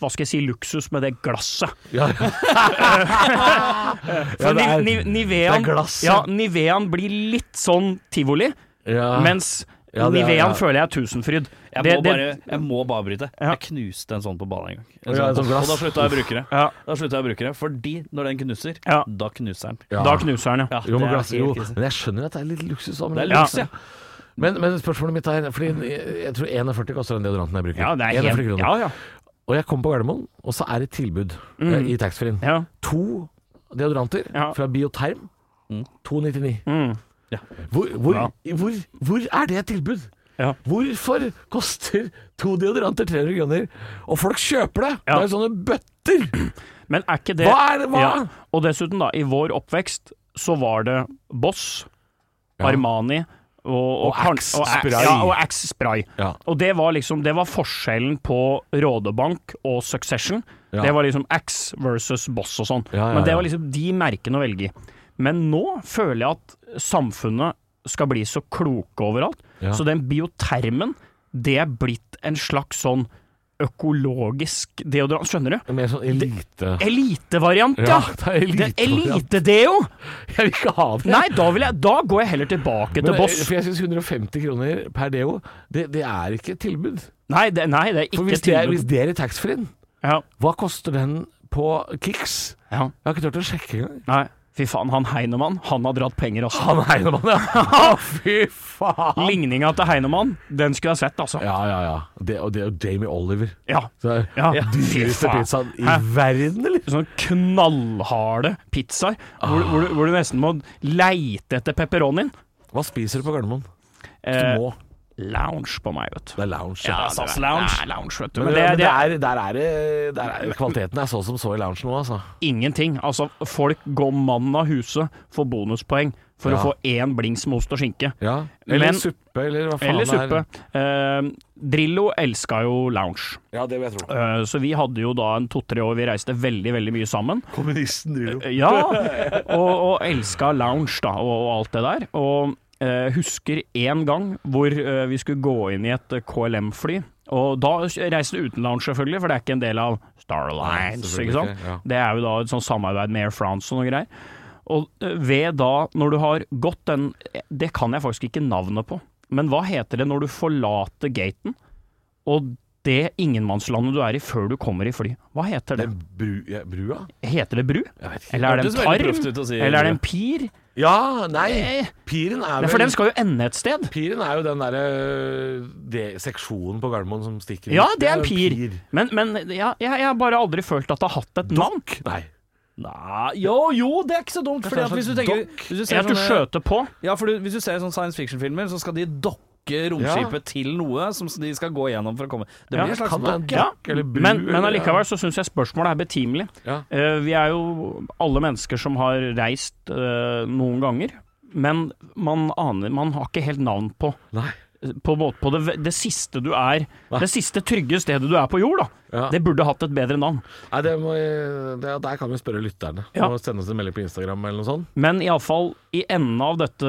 F: hva skal jeg si, luksus med det glasset.
C: Ja.
F: For
C: det er-
F: Ni- Ni- Niveaen,
C: det er glass,
F: ja.
C: ja.
F: Niveaen blir litt sånn tivoli,
C: Ja.
F: mens
C: Ja, det er-
F: Niveaen
C: ja.
F: føler jeg er tusenfryd.
G: Jeg
F: Det-
G: må,
F: det-
G: bare, jeg må bare bryte.
F: Ja.
G: Jeg knuste en sånn på badet en gang. En
C: ja,
G: sånn,
C: sånn glass.
G: og da slutta jeg å bruke det.
F: Ja.
G: Da slutta jeg å bruke det Fordi når den knuser,
F: Ja.
G: da knuser den.
C: Ja.
F: Da knuser den, ja.
G: Ja,
C: Jo,
G: det
C: men,
G: er
C: glass,
G: helt
C: jo,
G: krise.
C: men jeg skjønner at det er litt luksus. også, Men,
G: Det er luks,
F: Ja.
G: ja.
C: men, men spørsmålet mitt er Fordi jeg, jeg tror 41 koster den deodoranten jeg bruker.
F: Ja, det
C: 41
F: er helt,
C: kroner.
F: ja, ja.
C: Og jeg kom på Gardermoen, og så er det et tilbud eh, i taxfree-en.
F: ja.
C: To deodoranter
F: Ja.
C: fra Bioterm. 299.
F: Mm.
C: Hvor, hvor,
F: Ja.
C: hvor, hvor er det et tilbud?
F: Ja.
C: Hvorfor koster to deodoranter 300 kroner? Og folk kjøper det! Det
F: Ja.
C: er jo sånne bøtter!
F: Men er ikke det
C: Hva er det? Hva?
F: Ja. Og dessuten, da, i vår oppvekst så var det Boss,
C: Ja.
F: Armani og,
C: Og
F: kan-
C: Axe
F: og Axe-
C: Spray.
F: Ja, og Axe Spray.
C: Ja.
F: Og det var liksom Det var forskjellen på Rådebank og Succession.
C: Ja.
F: Det var liksom Axe versus Boss og sånn.
C: Ja, ja,
F: Men det
C: ja.
F: var liksom de merkene å velge i. Men nå føler jeg at samfunnet skal bli så kloke overalt.
C: Ja.
F: Så den biotermen, det er blitt en slags sånn økologisk deodorant. Skjønner du?
C: Mer sånn elite...
F: Elitevariant, ja!
C: Ja, det er
F: Det er
C: elitevariant.
F: elitedeo!
C: Jeg vil ikke ha det.
F: Nei, da, vil jeg, da går jeg heller tilbake til
C: Men,
F: Boss.
C: For jeg syns 150 kroner per deo, det, det er ikke et tilbud.
F: Nei, det, nei, det er
C: For
F: ikke
C: hvis det, er,
F: tilbud.
C: hvis det er i taxfree-en,
F: Ja,
C: hva koster den på Kix?
F: ja.
C: Jeg har ikke turt å sjekke engang.
F: Nei, fy faen, han Heinemann, han har dratt penger altså. også.
C: Han Heinemann, ja! Fy faen!
F: Ligninga til Heinemann, den skulle jeg sett, altså. Ja.
C: Ja, ja, ja. Det, og det er jo Jamie Oliver.
F: ja.
C: Så,
F: fy
C: Dyreste
F: faen.
C: pizzaen i
F: Hæ?
C: verden, eller?
F: Sånn knallharde pizzaer, hvor, hvor, du- hvor du nesten må leite etter pepperonien.
C: Hva spiser du på Gardermoen? Du
F: Eh,
C: må.
F: lounge på meg, vet du.
C: Det er lounge.
F: Ja,
C: altså.
F: det er- Det er lounge, vet du.
C: Men,
F: Men det,
C: men
F: det er
C: der, der er det der er, Kvaliteten er så som så i lounge nå, altså.
F: ingenting. Altså, folk går mannen av huset for bonuspoeng for
C: Ja.
F: å få én blings med ost og skinke.
C: Ja. Eller
F: Men-
C: suppe, eller hva faen
F: Eller
C: det
F: suppe.
C: er.
F: Eh, Drillo elska jo lounge,
C: Ja, det vil jeg tro.
F: Eh, så vi hadde jo da en to-tre år vi reiste veldig, veldig mye sammen.
C: Kommunisten Drillo.
F: Eh, Ja, og, og elska lounge da, og, og alt det der. Og eh, husker én gang hvor eh, vi skulle gå inn i et eh, KLM-fly. Og da reiste det uten lounge, selvfølgelig, for det er ikke en del av Star Alliance.
C: selvfølgelig
F: ikke sant?
C: ikke, ja.
F: Det er jo da et sånt samarbeid med Air France og noe greier. Og eh, ved da, når du har gått den eh, Det kan jeg faktisk ikke navnet på. Men hva heter det når du forlater gaten, og det ingenmannslandet du er i før du kommer i fly? Hva heter det?
C: Den bru, ja, brua?
F: Heter det bru? Eller er det en
G: Hørtes veldig proft
F: tarm?
G: ut å si.
F: Eller er det en pir?
C: Ja, nei.
F: Eh,
C: Piren er
F: Nei, for
C: vel
F: den skal jo ende et sted.
C: Piren er jo den derre det- seksjonen på Gardermoen som stikker ut.
F: Ja, det er en pir. Men, men ja, jeg, jeg har bare aldri følt at det har hatt et navn.
C: Nei.
G: Nei, jo, jo, det er ikke så dumt. Fordi at hvis du tenker hvis du
F: Jeg
G: ser sånn, eh,
F: at du
G: sånne-
F: skjøter på.
G: Ja, for du, hvis du ser sånne science fiction-filmer, så skal de dokke romskipet til noe som de skal gå gjennom for å komme Det blir
F: Ja,
G: en slags
C: kan være en
G: dokke.
C: dokk
F: Ja,
C: eller bru
F: men, men
C: eller-
F: allikevel så syns jeg spørsmålet er betimelig.
C: Ja.
F: Eh, vi er jo alle mennesker som har reist eh, noen ganger, men man aner Man har ikke helt navn på
C: Nei.
F: på, båt- på det, det siste du er
C: Nei.
F: Det siste trygge stedet du er på jord, da.
C: Ja.
F: Det burde hatt et bedre navn.
C: Nei, det må, jeg- det, der kan vi spørre lytterne.
F: Ja.
C: Og sende oss en melding på Instagram eller noe sånt.
F: Men iallfall i enden av dette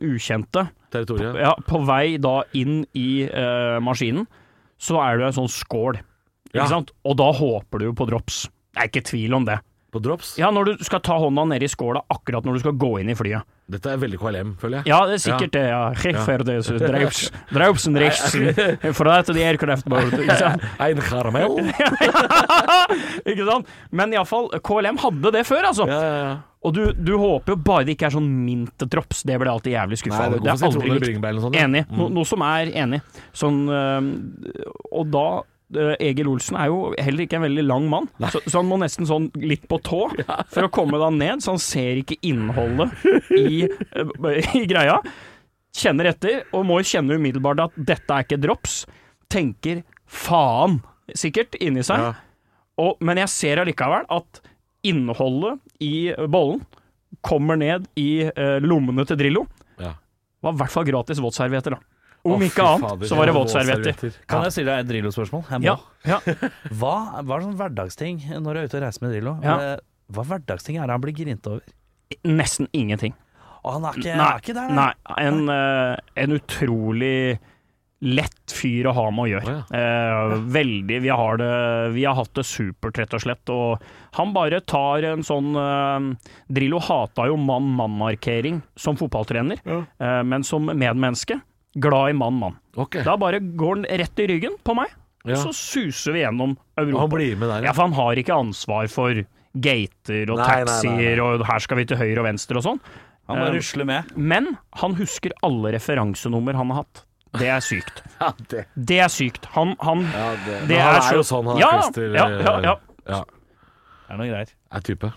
F: ukjente,
C: Territoriet.
F: ja, på vei da inn i eh, maskinen, så er det jo en sånn skål.
C: Ja.
F: Ikke sant? Og da håper du jo på drops. Det er ikke tvil om det.
C: På drops.
F: Ja, når du skal ta hånda ned i skåla akkurat når du skal gå inn i flyet.
C: Dette er veldig KLM, føler jeg.
F: Ja, det er sikkert det, ja. Schiffer, det er drops, dropsen rechts, for det heter de aircraft boat, ikke sant?
C: liksom? Ein karamell.
F: Ikke sant? Men iallfall, KLM hadde det før, altså.
C: ja, ja, ja.
F: Og du, du håper jo bare det ikke er sånn mint-drops, det blir jeg alltid jævlig skuffa
C: Nei, det
F: over.
C: går
F: Det
C: for
F: er aldri
C: sitroner og
F: likt.
C: bringebær eller noe sånt. ja. Mm.
F: Enig. No, noe som er enig. Sånn øhm, Og da øh, Egil Olsen er jo heller ikke en veldig lang mann, så, så han må nesten sånn litt på tå for å komme da ned, så han ser ikke innholdet i, øh, i greia. Kjenner etter, og må jo kjenne umiddelbart at dette er ikke drops. Tenker faen, sikkert, inni seg.
C: Ja.
F: Og, men jeg ser allikevel at innholdet i bollen kommer ned i øh, lommene til Drillo.
C: Ja.
F: Det var i hvert fall gratis våtservietter, da.
C: Å,
F: Om
C: fy
F: ikke annet,
C: fader,
F: så var det
C: ja,
F: våtservietter.
G: Kan jeg stille deg et Drillo-spørsmål? Jeg må.
F: Ja, ja.
G: Hva, hva er sånn hverdagsting når du er ute og reiser med Drillo?
F: Ja.
G: Eh, Hva hverdagsting er det han blir grint over?
F: Nesten ingenting.
G: Å, han er ikke, han
F: Nei,
G: er ikke der,
F: nei en, eh, en utrolig lett fyr å ha med å gjøre.
C: Å,
F: Eh, veldig. Vi har, det, vi har hatt det supert, rett og slett. Og han bare tar en sånn eh, Drillo hata jo mann-mann-markering som fotballtrener, eh, men som medmenneske glad i mann-mann.
C: Ok.
F: Da bare går han rett i ryggen på meg,
C: Ja.
F: så suser vi gjennom
C: Og
F: Europa.
C: han blir med der.
F: Ja, for han har ikke ansvar for gater og
C: Nei, nei, nei,
F: taxier og her skal vi til høyre og venstre og sånn.
G: Han
E: Eh,
G: må rusle med.
F: Men han husker alle referansenummer han har hatt. Det er sykt.
C: Ja, det.
F: Det er sykt. Han, han
C: Ja, det.
F: Det
C: Men han
F: er
C: er,
F: så-
C: jo sånn han eh,
F: Ja,
C: er klister...
F: ja, ja, ja.
C: ja.
G: Det er noe greier.
C: er type.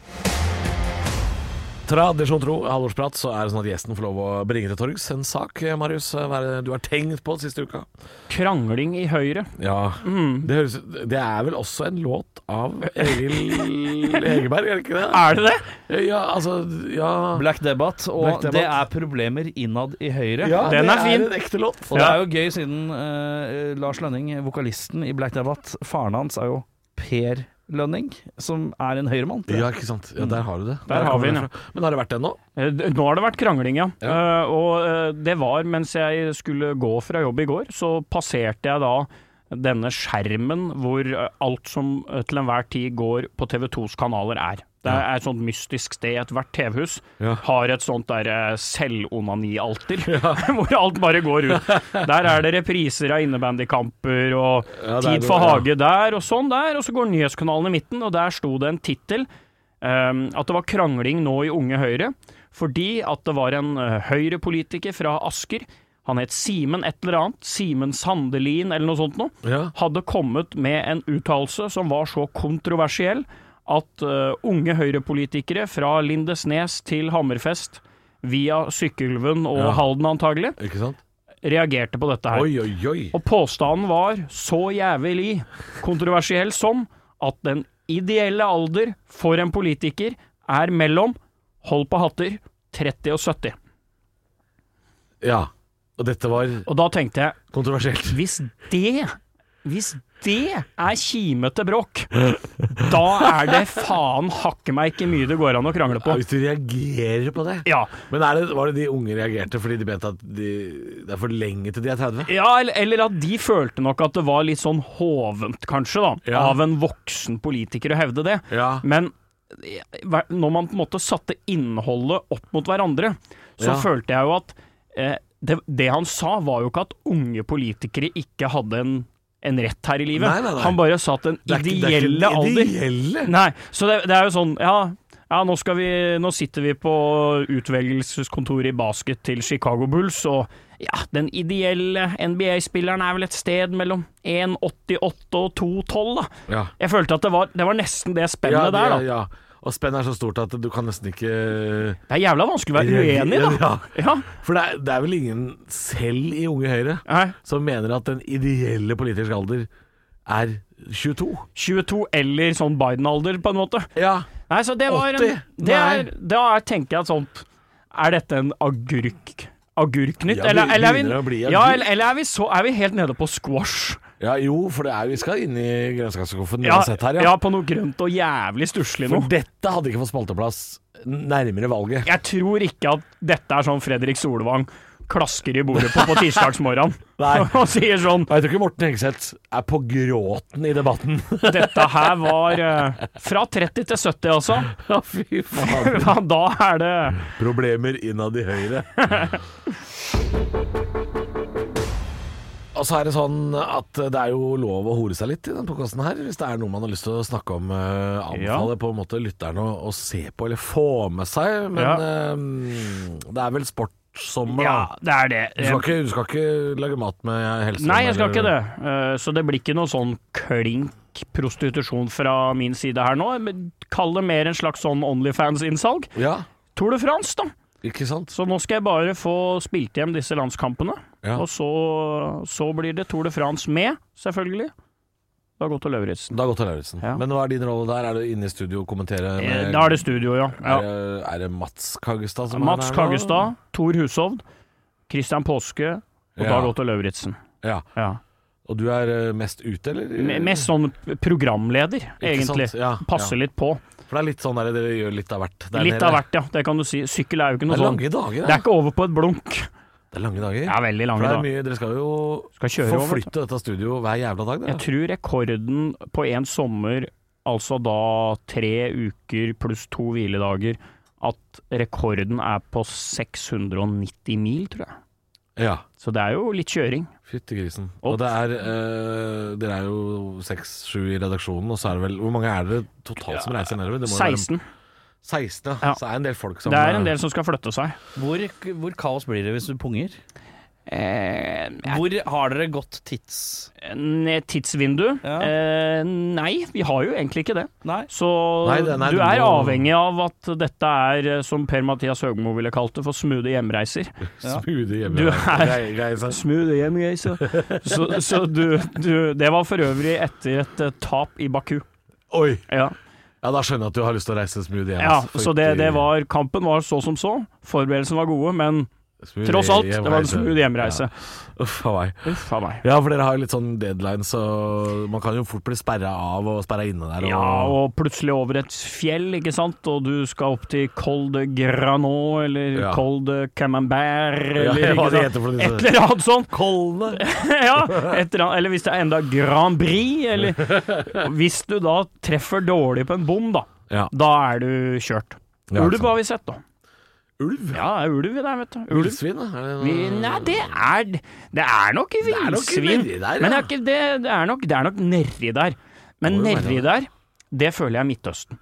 C: Tradisjon tro, halvårsprat, så er det sånn at gjesten får lov å bringe til torgs en sak, eh, Marius. eh, Hva er det du har tenkt på siste uka?
F: Krangling i høyre.
C: Ja,
F: Mm.
C: det, høres, det er vel også en låt av Egil Egeberg, er det ikke det?
F: Er det det?
C: Ja, altså Ja.
E: Black Debate, og
C: Black Debbath.
E: det er problemer innad i Høyre.
C: ja
F: Den
C: det
F: er fin.
C: en ekte låt.
E: Og det er jo gøy, siden eh, Lars Lønning, vokalisten i Black Debate, faren hans er jo Per Lønning, som er en høyremann. tror jeg.
C: Ja, ikke sant. Ja, der har du det.
F: Der har vi den,
C: kommer det fra. Men har det vært den nå?
F: Eh, d- Nå har det vært krangling, ja. Eh, og eh, det var mens jeg skulle gå fra jobb i går, så passerte jeg da denne skjermen hvor eh, alt som eh, til enhver tid går på TV2s kanaler er. Det er et sånt mystisk sted. Ethvert TV-hus
C: Ja.
F: har et sånt der eh, selvonanialter, hvor alt bare går ut. Der er det repriser av innebandykamper og
C: Ja, det er
F: Tid
C: det,
F: for
C: ja.
F: hage der og sånn der, og så går nyhetskanalen i midten, og der sto det en tittel ehm, at det var krangling nå i Unge Høyre, fordi at det var en eh, Høyre-politiker fra Asker, han het Simen et eller annet, Simen Sandelin eller noe sånt noe,
C: Ja.
F: hadde kommet med en uttalelse som var så kontroversiell at eh, unge Høyre-politikere fra Lindesnes til Hammerfest, via Sykkylven og
C: Ja.
F: Halden antagelig,
C: Ikke sant?
F: reagerte på dette her.
C: Oi, oi, oi.
F: Og påstanden var så jævlig kontroversiell som at den ideelle alder for en politiker er mellom, hold på hatter, 30 og 70.
C: Ja. Og dette var
F: Og da tenkte jeg,
C: kontroversielt.
F: hvis det, hvis det er kimete bråk, da er det faen hakke meg ikke mye det går an å krangle
C: Ja,
F: på.
C: hvis du reagerer på det
F: Ja,
C: Men er det, var det de unge reagerte fordi de mente at de, det er for lenge til de er 30?
F: Ja, eller, eller at de følte nok at det var litt sånn hovent, kanskje, da,
C: Ja.
F: av en voksen politiker å hevde det.
C: Ja.
F: Men eh, hver- når man på en måte satte innholdet opp mot hverandre,
C: Ja.
F: så følte jeg jo at eh, det, det han sa, var jo ikke at unge politikere ikke hadde en, en rett her i livet.
C: Nei, nei, nei.
F: Han bare satt en
C: Det er ikke- det er ikke
F: ideelle
C: den
F: alder.
C: Ideelle?
F: Nei, så det, det er jo sånn, ja... Ja, nå, skal vi, nå sitter vi på utvelgelseskontoret i basket til Chicago Bulls, og ja, den ideelle NBA-spilleren er vel et sted mellom 1,88 og 2,12, da.
C: Ja.
F: Jeg følte at det var, det var nesten det spennet
C: Ja,
F: der, da.
C: ja, ja. Og spennet er så stort at du kan nesten ikke eh,
F: Det er jævla vanskelig å være uenig, i, da.
C: Ja.
F: Ja.
C: For det er, det er vel ingen selv i Unge Høyre
F: Nei,
C: som mener at den ideelle politiske alder er 22.
F: 22 eller sånn Biden-alder, på en måte.
C: Ja.
F: Nei, så det var en,
C: 80?
F: det er,
C: Nei.
F: Da er- tenker jeg at sånt Er dette en agurk? Agurknytt?
C: Ja,
F: eller,
C: det
F: eller,
C: begynner å
F: er vi,
C: bli agurk.
F: ja, eller, eller er, vi så, er vi helt nede på squash?
C: ja, jo, for det er, vi skal inn i grønnsakskofferten
F: Ja,
C: uansett her,
F: ja.
C: ja.
F: på noe grønt og jævlig stusslig
C: For
F: noe.
C: dette hadde ikke fått spalteplass nærmere valget.
F: Jeg tror ikke at dette er sånn Fredrik Solvang klasker i bordet på på tirsdagsmorgenen
C: Nei.
F: og sier sånn
C: Og Jeg tror ikke Morten Hegseth er på gråten i debatten.
F: Dette her var eh, fra 30 til 70, altså.
C: Ja, fy faen.
F: Ja, da er det
C: Problemer innad i Høyre. Og så er det sånn at det er jo lov å hore seg litt i den podkasten her, hvis det er noe man har lyst til å snakke om. eh, anbefale på en måte lytterne å, å se på eller få med seg, men
F: Ja.
C: eh, det er vel sportssommer,
F: Ja,
C: da.
F: det er det. Eh,
C: Du skal, ikke, du skal ikke lage mat med helse?
F: Nei, jeg skal
C: eller-
F: ikke det. Eh, Så det blir ikke noe sånn klink prostitusjon fra min side her nå. Men Kall det mer en slags sånn Onlyfans-innsalg.
C: Ja,
F: Tour de France, da.
C: ikke sant?
F: Så nå skal jeg bare få spilt hjem disse landskampene.
C: Ja.
F: Og så, så blir det Tour de France med, selvfølgelig. Da går til Lauritzen.
C: Dag Otto Lauritzen.
F: Ja.
C: Men hva er din rolle der? Er du inne i studio og kommenterer?
F: Eh, Da er det studio, ja. ja.
C: Er, det, er det Mats Kaggestad som
F: Mats
C: er der nå?
F: Kaggestad, Tor Hushovd, Christian Påske og
C: Ja.
F: Dag Otto Lauritzen.
C: Ja.
F: Ja.
C: Og du er eh, mest ute, eller?
F: Me- Mest sånn programleder,
C: Ikke sant?
F: egentlig.
C: Ja,
F: Passer
C: ja.
F: litt på.
C: For det er litt sånn der dere gjør litt av hvert. Det er
F: Litt
C: en hel-
F: av hvert, ja. Det kan du si. Sykkel er jo ikke
C: Det
F: noe
C: er
F: sånn.
C: lange dager,
F: Det er ikke over på et blunk.
C: Det er lange dager.
F: Det er
C: For
F: veldig lange
C: det er
F: da.
C: mye, dere skal jo
F: Skal kjøre over, vet
C: forflytte dette studio hver jævla dag.
F: Jeg
C: Dere.
F: tror rekorden på en sommer, altså da tre uker pluss to hviledager, at rekorden er på 690 mil, tror jeg.
C: Ja.
F: Så det er jo litt kjøring.
C: Fytti grisen.
F: Og-
C: Og det er eh, Dere er jo seks-sju i redaksjonen, og så er det vel Hvor mange er dere totalt som reiser nedover? Det må jo være-
F: 16.
C: 16, ja.
F: Ja.
C: Så er det en del folk som
F: Det er en del som skal flytte seg.
E: Hvor, hvor kaos blir det hvis du punger?
F: Eh,
E: Hvor har dere gått tids...
F: en tidsvindu?
E: Ja.
F: Eh, nei, vi har jo egentlig ikke det.
E: Nei.
F: Så
C: Nei, det- nei,
F: du
C: du
F: er
C: må-
F: avhengig av at dette er, eh, som Per-Mathias Høgmo ville kalt det, for smoothie hjemreiser.
C: smoothe hjemme.
F: Du er-
C: Grei- grei seg.
F: Smoothie hjemreiser. så så du, du Det var for øvrig etter et eh, tap i Baku.
C: Oi!
F: Ja.
C: Ja, da skjønner jeg at du har lyst til å reise smoothie hjem.
F: Ja,
C: ass.
F: så det,
C: Fordi-
F: det var Kampen var så som så. Forberedelsene var gode, men
C: smoothie
F: tross alt, det var en
C: hjemreise.
F: smooth hjemreise.
C: Ja. Uff a meg.
F: Uff a meg.
C: Ja, for dere har jo litt sånn deadline, så man kan jo fort bli sperra av og sperra inne der. Og...
F: Ja, og plutselig over et fjell, ikke sant, og du skal opp til Col de Granon, eller
C: Ja.
F: Col de Camembert,
C: Ja,
F: eller
C: hva
F: ikke
C: det
F: sant?
C: heter for disse-
F: et eller annet sånt.
C: Kolne!
F: ja, et eller, annet, eller hvis det er enda Grand Prix, eller Hvis du da treffer dårlig på en bom, da,
C: Ja.
F: da er du kjørt.
C: Ja, ikke
F: ulv
C: sant.
F: har vi sett, da.
C: sånn Ulv?
F: Ja, det er ulv der, vet du. Ulv.
C: Ulvsvin, da? Er det-
F: Vi, nei, det er Det er nok
C: er nok
F: villsvin.
C: nedi der, ja.
F: Men det er, ikke, det, det er nok, det er nok nedi der.
C: Må
F: Men
C: jo være
F: nedi
C: det.
F: der, det føler jeg er Midtøsten.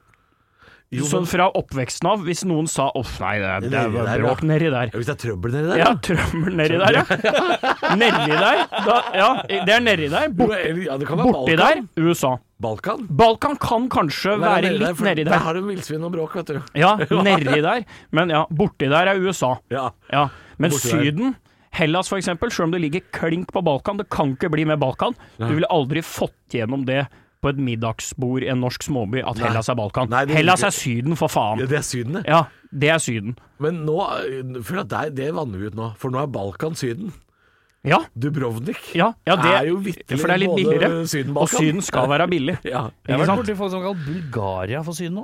C: Jo,
F: Sånn
C: men-
F: fra oppveksten av, hvis noen sa 'uff, nei, det, det
C: Nedi
F: er
C: der,
F: bråk nedi der'.
C: Ja, Hvis det er trøbbel nedi der?
F: Ja,
C: da.
F: trømmel nedi der, ja. Nedi der. Da, ja, det er nedi der.
C: Jo,
F: Bort,
C: eller- ja, det kan være
F: borti der,
C: Balkan.
F: USA.
C: Balkan?
F: Balkan kan kanskje
C: Nei,
F: være
C: nedi der,
F: litt
C: for
F: nedi
C: Der
F: der.
C: har du villsvin og bråk, vet du.
F: Ja, nedi der. Men ja, borti der er USA.
C: Ja.
F: Ja, men
C: Borti der.
F: Syden, Hellas for eksempel, selv om det ligger klink på Balkan, det kan ikke bli mer Balkan. Du ville aldri fått gjennom det på et middagsbord i en norsk småby, at
C: Nei.
F: Hellas er Balkan.
C: Nei, det-
F: Hellas er Syden, for
C: ja,
F: faen.
C: det er Syden, det.
F: Ja, det er Syden.
C: Men nå eh, føler jeg at det, det vanner vi ut nå, for nå er Balkan Syden.
F: Ja,
C: Dubrovnik
F: ja, ja det
C: er jo vitterlig
F: for det er litt
C: både
F: billigere. Og
C: Syden-Balkan.
F: Syden skal være billig.
C: Ja.
E: Jeg
F: Ikke
E: har vært
F: sant?
E: borti folk som kaller Bulgaria for Syden nå.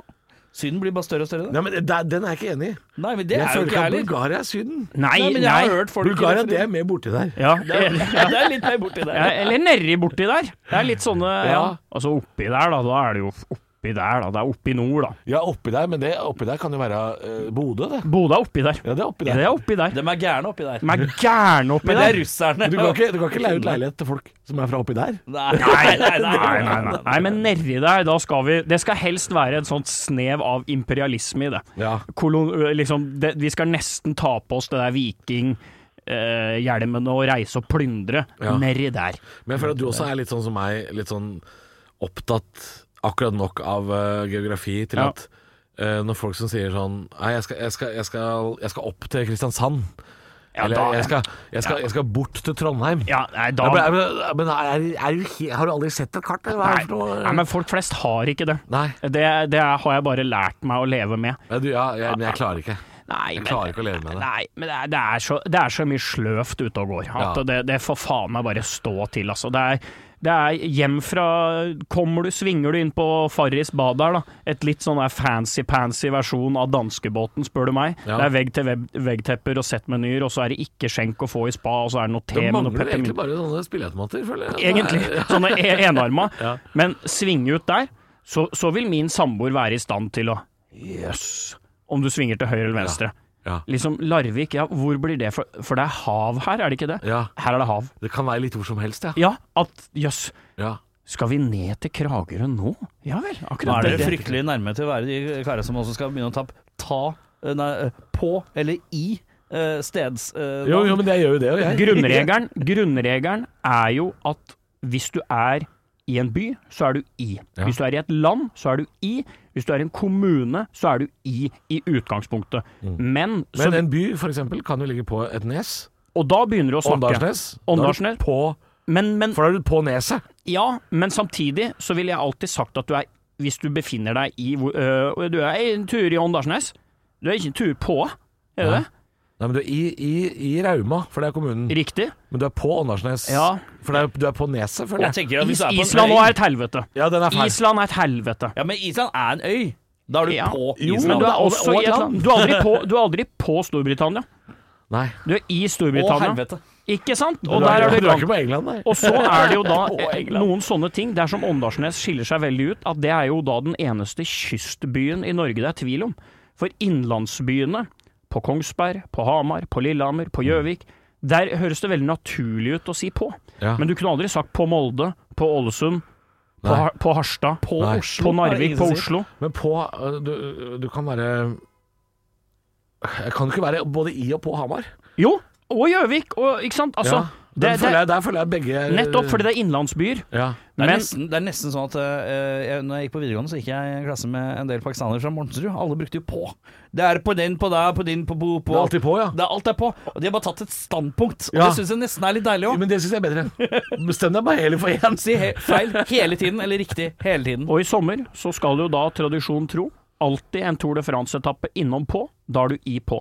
E: Syden blir bare større og større.
C: Nei, men det, Den er jeg ikke enig i.
E: Da. Nei, men det
C: Jeg
E: er jo
C: føler
E: ikke
C: ikke
E: jeg
C: at
E: heller.
C: Bulgaria er Syden.
F: Nei,
E: Nei, men jeg
F: nei.
E: har hørt folk
C: Bulgaria det
E: referere-
C: er mer borti der.
F: Ja,
E: Det er,
F: eller-
E: ja, det er litt mer borti der.
F: eller nedi borti der. Det er litt sånne ja.
C: Ja.
F: Altså oppi der, da. Da er det jo oppi der, da. Det er oppi nord, da.
C: Ja, oppi der, men det oppi der kan jo være eh, Bodø, det.
F: Bodø er oppi der.
C: Ja, det er oppi
F: Det
C: der.
F: er oppi der.
E: De er gærne oppi der.
F: De er gærne oppi
E: Men det
F: der.
E: er russerne.
C: Du kan, ikke, du kan ikke leie ut leilighet til folk som er fra oppi der.
E: Nei,
F: Nei, nei, nei, nei, nei. nei men nedi der, da skal vi Det skal helst være et sånt snev av imperialisme i det.
C: Ja.
F: Kolon, liksom, det vi skal nesten ta på oss det der vikinghjelmene og reise og plyndre.
C: Ja.
F: Nedi der.
C: Men jeg føler at du også er litt sånn som meg, litt sånn opptatt akkurat nok av eh, geografi til
F: Ja.
C: at eh, når folk som sier sånn Nei, jeg skal, jeg skal, jeg skal, jeg skal opp til Kristiansand.
F: Ja,
C: Eller
F: da-
C: jeg, skal, jeg, skal, jeg skal bort til Trondheim.
F: Ja, nei, da
C: Ja, men men- men er, er, du he- har du aldri sett et kart? Eller? Hva er
F: nei,
C: det for noe?
F: nei, men folk flest har ikke det.
C: Nei.
F: Det, det har jeg bare lært meg å leve med.
C: Ja, du, ja, jeg, men jeg klarer ikke.
F: Nei,
C: Jeg klarer ikke å leve med det.
F: Nei, men det er, det er, så, det er så mye sløvt ute og går. At
C: Ja.
F: det, det får faen meg bare stå til, altså. Det er, det er hjem fra Kommer du, svinger du inn på Farris bad der, da. Et litt sånn der fancy-pansy versjon av danskebåten, spør du meg.
C: Ja.
F: Det er vegg til vegg- veggtepper og settmenyer, og så er det ikke skjenk å få i spa, og så er det noe te
C: Det
F: med noe
C: mangler egentlig
F: peppermynte.
C: bare sånne spilleautomater, føler jeg.
F: Egentlig. Sånne e- enarma. Men svinge ut der, så, så vil min samboer være i stand til å Jøss. om du svinger til høyre eller venstre.
C: Ja.
F: Liksom Larvik, ja, hvor blir det for, for det er hav her, er det ikke det?
C: Ja.
F: Her er det hav.
C: Det kan være litt hvor som helst, ja.
F: Ja, at jøss,
C: ja.
F: skal vi ned til Kragerø nå? Ja vel,
E: Nå
F: akkurat
E: er dere
F: det.
E: fryktelig nærme til å være de karene som også skal begynne å ta, ta eh, nei, eh, på eller i eh, steds... eh,
C: Jo,
E: navn.
C: jo, men jeg gjør jo det, og jeg.
F: Grunnregelen, grunnregelen er jo at hvis du er i en by, så er du i.
C: Ja.
F: Hvis du er i et land, så er du i. Hvis du er i en kommune, så er du i i utgangspunktet. Men, så,
C: Mm. Men en by, for eksempel, kan jo ligge på et nes.
F: Og da begynner du å snakke.
C: Åndalsnes.
F: Åndalsnes.
C: Da er du På
F: Men, men
C: For da er du på neset.
F: Ja, men samtidig så ville jeg alltid sagt at du er Hvis du befinner deg i hvor- øh, Du er en tur i Åndalsnes. Du er ikke en tur på, er du det?
C: Nei, men du er i, i, i Rauma, for det er kommunen.
F: Riktig.
C: Men du er på Åndalsnes.
F: Ja.
C: For det er, du er på neset, føler jeg.
E: Jeg tenker at hvis du er på en
F: Island
E: øy-
F: nå er et helvete.
C: Ja, den er feil.
F: Island er et helvete.
E: Ja, men Island er en øy. Da er du
F: Ja.
E: på
C: Jo,
E: Island.
F: Men du er
C: og-
F: også
C: og
F: i
C: et
F: et
C: land.
F: land. Du er aldri på, du er aldri på Storbritannia.
C: Nei.
F: Du er i
E: Å,
F: Storbritannia.
E: helvete.
F: Ikke sant? Og
C: Du
F: der er
C: ikke-
F: du
C: Du er ikke
F: langt.
C: på England, nei.
F: Og så er det jo da
C: Å,
F: eh,
C: England.
F: noen sånne ting. Det er som Åndalsnes skiller seg veldig ut, at det er jo da den eneste kystbyen i Norge det er tvil om. For innlandsbyene, på Kongsberg, på Hamar, på Lillehammer, på Gjøvik, der høres det veldig naturlig ut å si på.
C: Ja.
F: Men du kunne aldri sagt på Molde, på Ålesund, på,
C: Nei.
F: Har- på Harstad, på,
C: Nei.
E: er
F: på
E: det
F: Narvik,
E: ingen som sier.
F: på Oslo.
C: Men på øh, Du, du kan være Jeg kan jo ikke være både i og på Hamar.
F: Jo, og Gjøvik, og ikke sant? Altså,
C: Ja.
F: Det,
C: Der føler
F: det,
C: jeg, der føler jeg begge er
F: nettopp fordi det er innlandsbyer.
G: Det er,
C: Ja.
F: Men
G: nesten, det er nesten sånn at eh, jeg, Når jeg gikk på videregående, så gikk jeg i en klasse med en del pakistanere fra Mortensrud. Alle brukte jo 'på'. Det er på den, på deg, på din, på bo, på
C: Det er alltid på, ja.
G: Det er alt er på. Og de har bare tatt et standpunkt. Og
C: Ja.
G: det syns jeg nesten er litt deilig òg.
C: Men det syns jeg er bedre. Bestem deg bare heller for én.
G: Si he feil hele tiden, eller riktig hele tiden.
F: Og i sommer så skal jo da tradisjon tro alltid en Tour de France-etappe innom på. Da er du i på.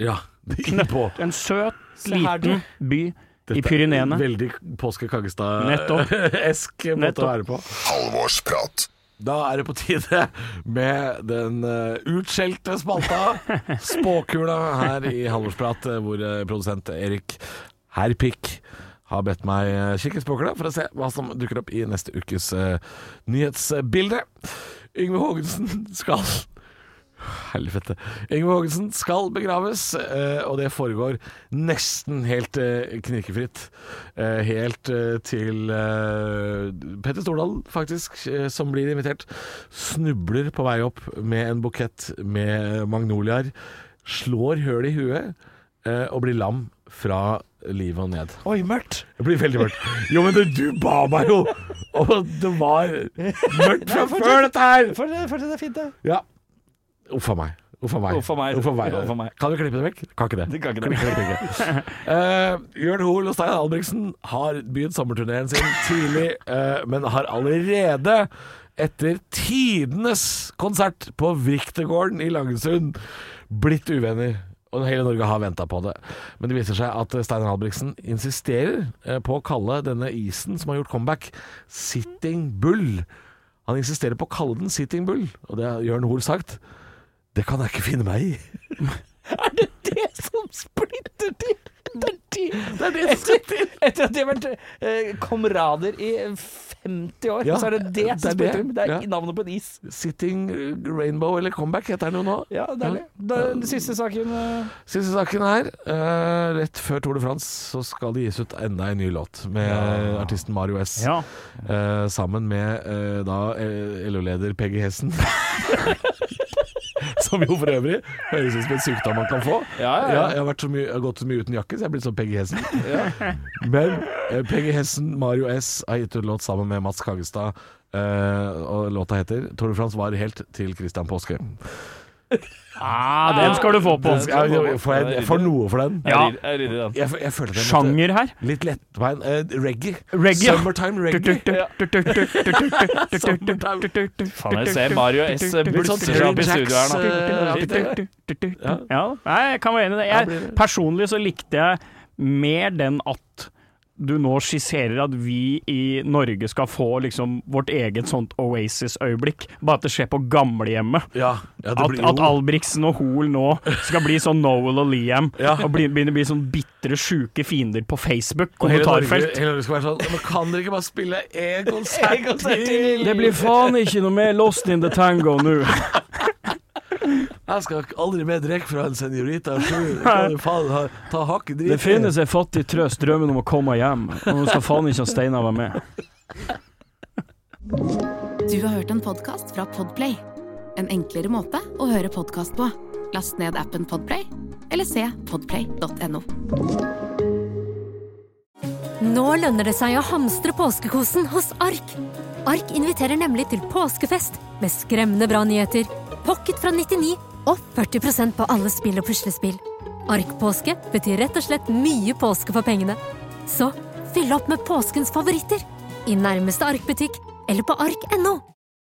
C: Ja, innpå.
F: En søt,
G: Se her, du.
F: liten by i Pyreneene.
C: Veldig Påske
F: Nettopp.
C: Kaggestad-esk måte å være på.
D: Halvorsprat.
C: Da er det på tide med den eh, utskjelte spalta, spåkula, her i Halvorsprat, eh, hvor eh, produsent Erik herr Pikk har bedt meg eh, kikke i spåkula for å se hva som dukker opp i neste ukes eh, nyhetsbilde. Yngve Haagensen skal Helvete. Yngve Haagensen skal begraves, eh, og det foregår nesten helt eh, knirkefritt. Eh, Helt eh, til eh, Petter Stordalen, faktisk, eh, som blir invitert, snubler på vei opp med en bukett med magnoliaer, slår høl i huet eh, og blir lam fra livet og ned.
E: Oi, mørkt!
C: Det blir veldig mørkt. Jo, men du, du ba meg jo om at det var mørkt fra før, dette her!
E: Fortsett, det er fint, det.
C: Ja. Uff a meg. Uff a meg.
G: Uff a meg.
C: Uff a meg.
G: Uff a meg.
C: Kan vi klippe det vekk? Kan ikke det.
G: Det kan ikke det.
C: Eh, Jørn Hoel og Stein Albrigtsen har begynt sommerturneen sin tidlig, eh, men har allerede etter tidenes konsert på Vriktegården i Langesund blitt uvenner. Og hele Norge har venta på det. Men det viser seg at Steinar Albrigtsen insisterer eh, på å kalle denne isen som har gjort comeback, Sitting Bull. Han insisterer på å kalle den Sitting Bull, og det har Jørn Hoel sagt. Det kan jeg ikke finne meg i.
G: Er det det som splitter til? Det er de
C: Det er det som
G: etter, etter at de har vært eh, kamerader i 50 år,
C: Ja,
G: så er det det
C: det er
G: som splitter
C: det.
G: dem. Det er
C: Ja.
G: navnet på en is.
C: Sitting Rainbow, eller Comeback heter den jo nå.
G: Ja, det er det. Da, den siste saken eh,
C: Siste saken her. eh, rett før Tour de France så skal det gis ut enda en ny låt med eh, artisten Mario S.
F: Ja.
C: eh, sammen med eh, da eh, LO-leder Peggy Hessen. som jo for øvrig høres ut som en sykdom man kan få.
G: Ja, ja, ja.
C: jeg har, vært så mye, jeg har gått så mye uten jakke, så jeg er blitt som Peggy Hessen. Men eh, Peggy Hessen, Mario S, har gitt ut låt sammen med Mats Kagestad. eh, og låta heter 'Tour de France var helt til Christian Påske'.
F: Ah, den skal du få på.
C: Ja, jeg- får jeg, jeg får noe for den.
F: Ja,
C: Jeg, f- jeg føler det
F: sjanger her.
C: Litt lettbein eh, reggae.
F: Reggae, ja.
C: Summertime reggae.
F: Faen,
G: jeg ser Mario S.
C: Litt sånn eh,
G: Blusser opp i studio her nå.
C: nå.
F: Ja, nei, jeg kan være enig i det. Jeg, personlig så likte jeg mer den at du nå skisserer at vi i Norge skal få liksom vårt eget sånt Oasis-øyeblikk, bare at det skjer på gamlehjemmet.
C: Ja, ja, det
F: At,
C: blir
F: at
C: jo
F: Albrigtsen og Hoel nå skal bli sånn Noel og Liam,
C: Ja.
F: og bli- begynner å bli sånn bitre, sjuke fiender på Facebook,
C: Og hele Norge,
F: kommentarfelt.
C: hele Norge skal være sånn Men kan dere ikke bare spille én konsert?
F: Det blir faen ikke noe mer Lost in the Tango nå.
C: Jeg skal aldri mer drikke fra en senorita sju. Kan du faen ha, ta hakket drit?
F: Det finnes en fattig trøst, drømmen om å komme hjem. Og nå skal faen ikke Steinar være med.
B: Du har hørt en podkast fra Podplay. En enklere måte å høre podkast på. Last ned appen Podplay, eller se podplay.no.
H: Nå lønner det seg å hamstre påskekosen hos Ark. Ark inviterer nemlig til påskefest med skremmende bra nyheter, pocket fra 99 og 40 på alle spill og puslespill. Ark-påske betyr rett og slett mye påske for pengene. Så fyll opp med påskens favoritter i nærmeste Ark-butikk eller på ark.no.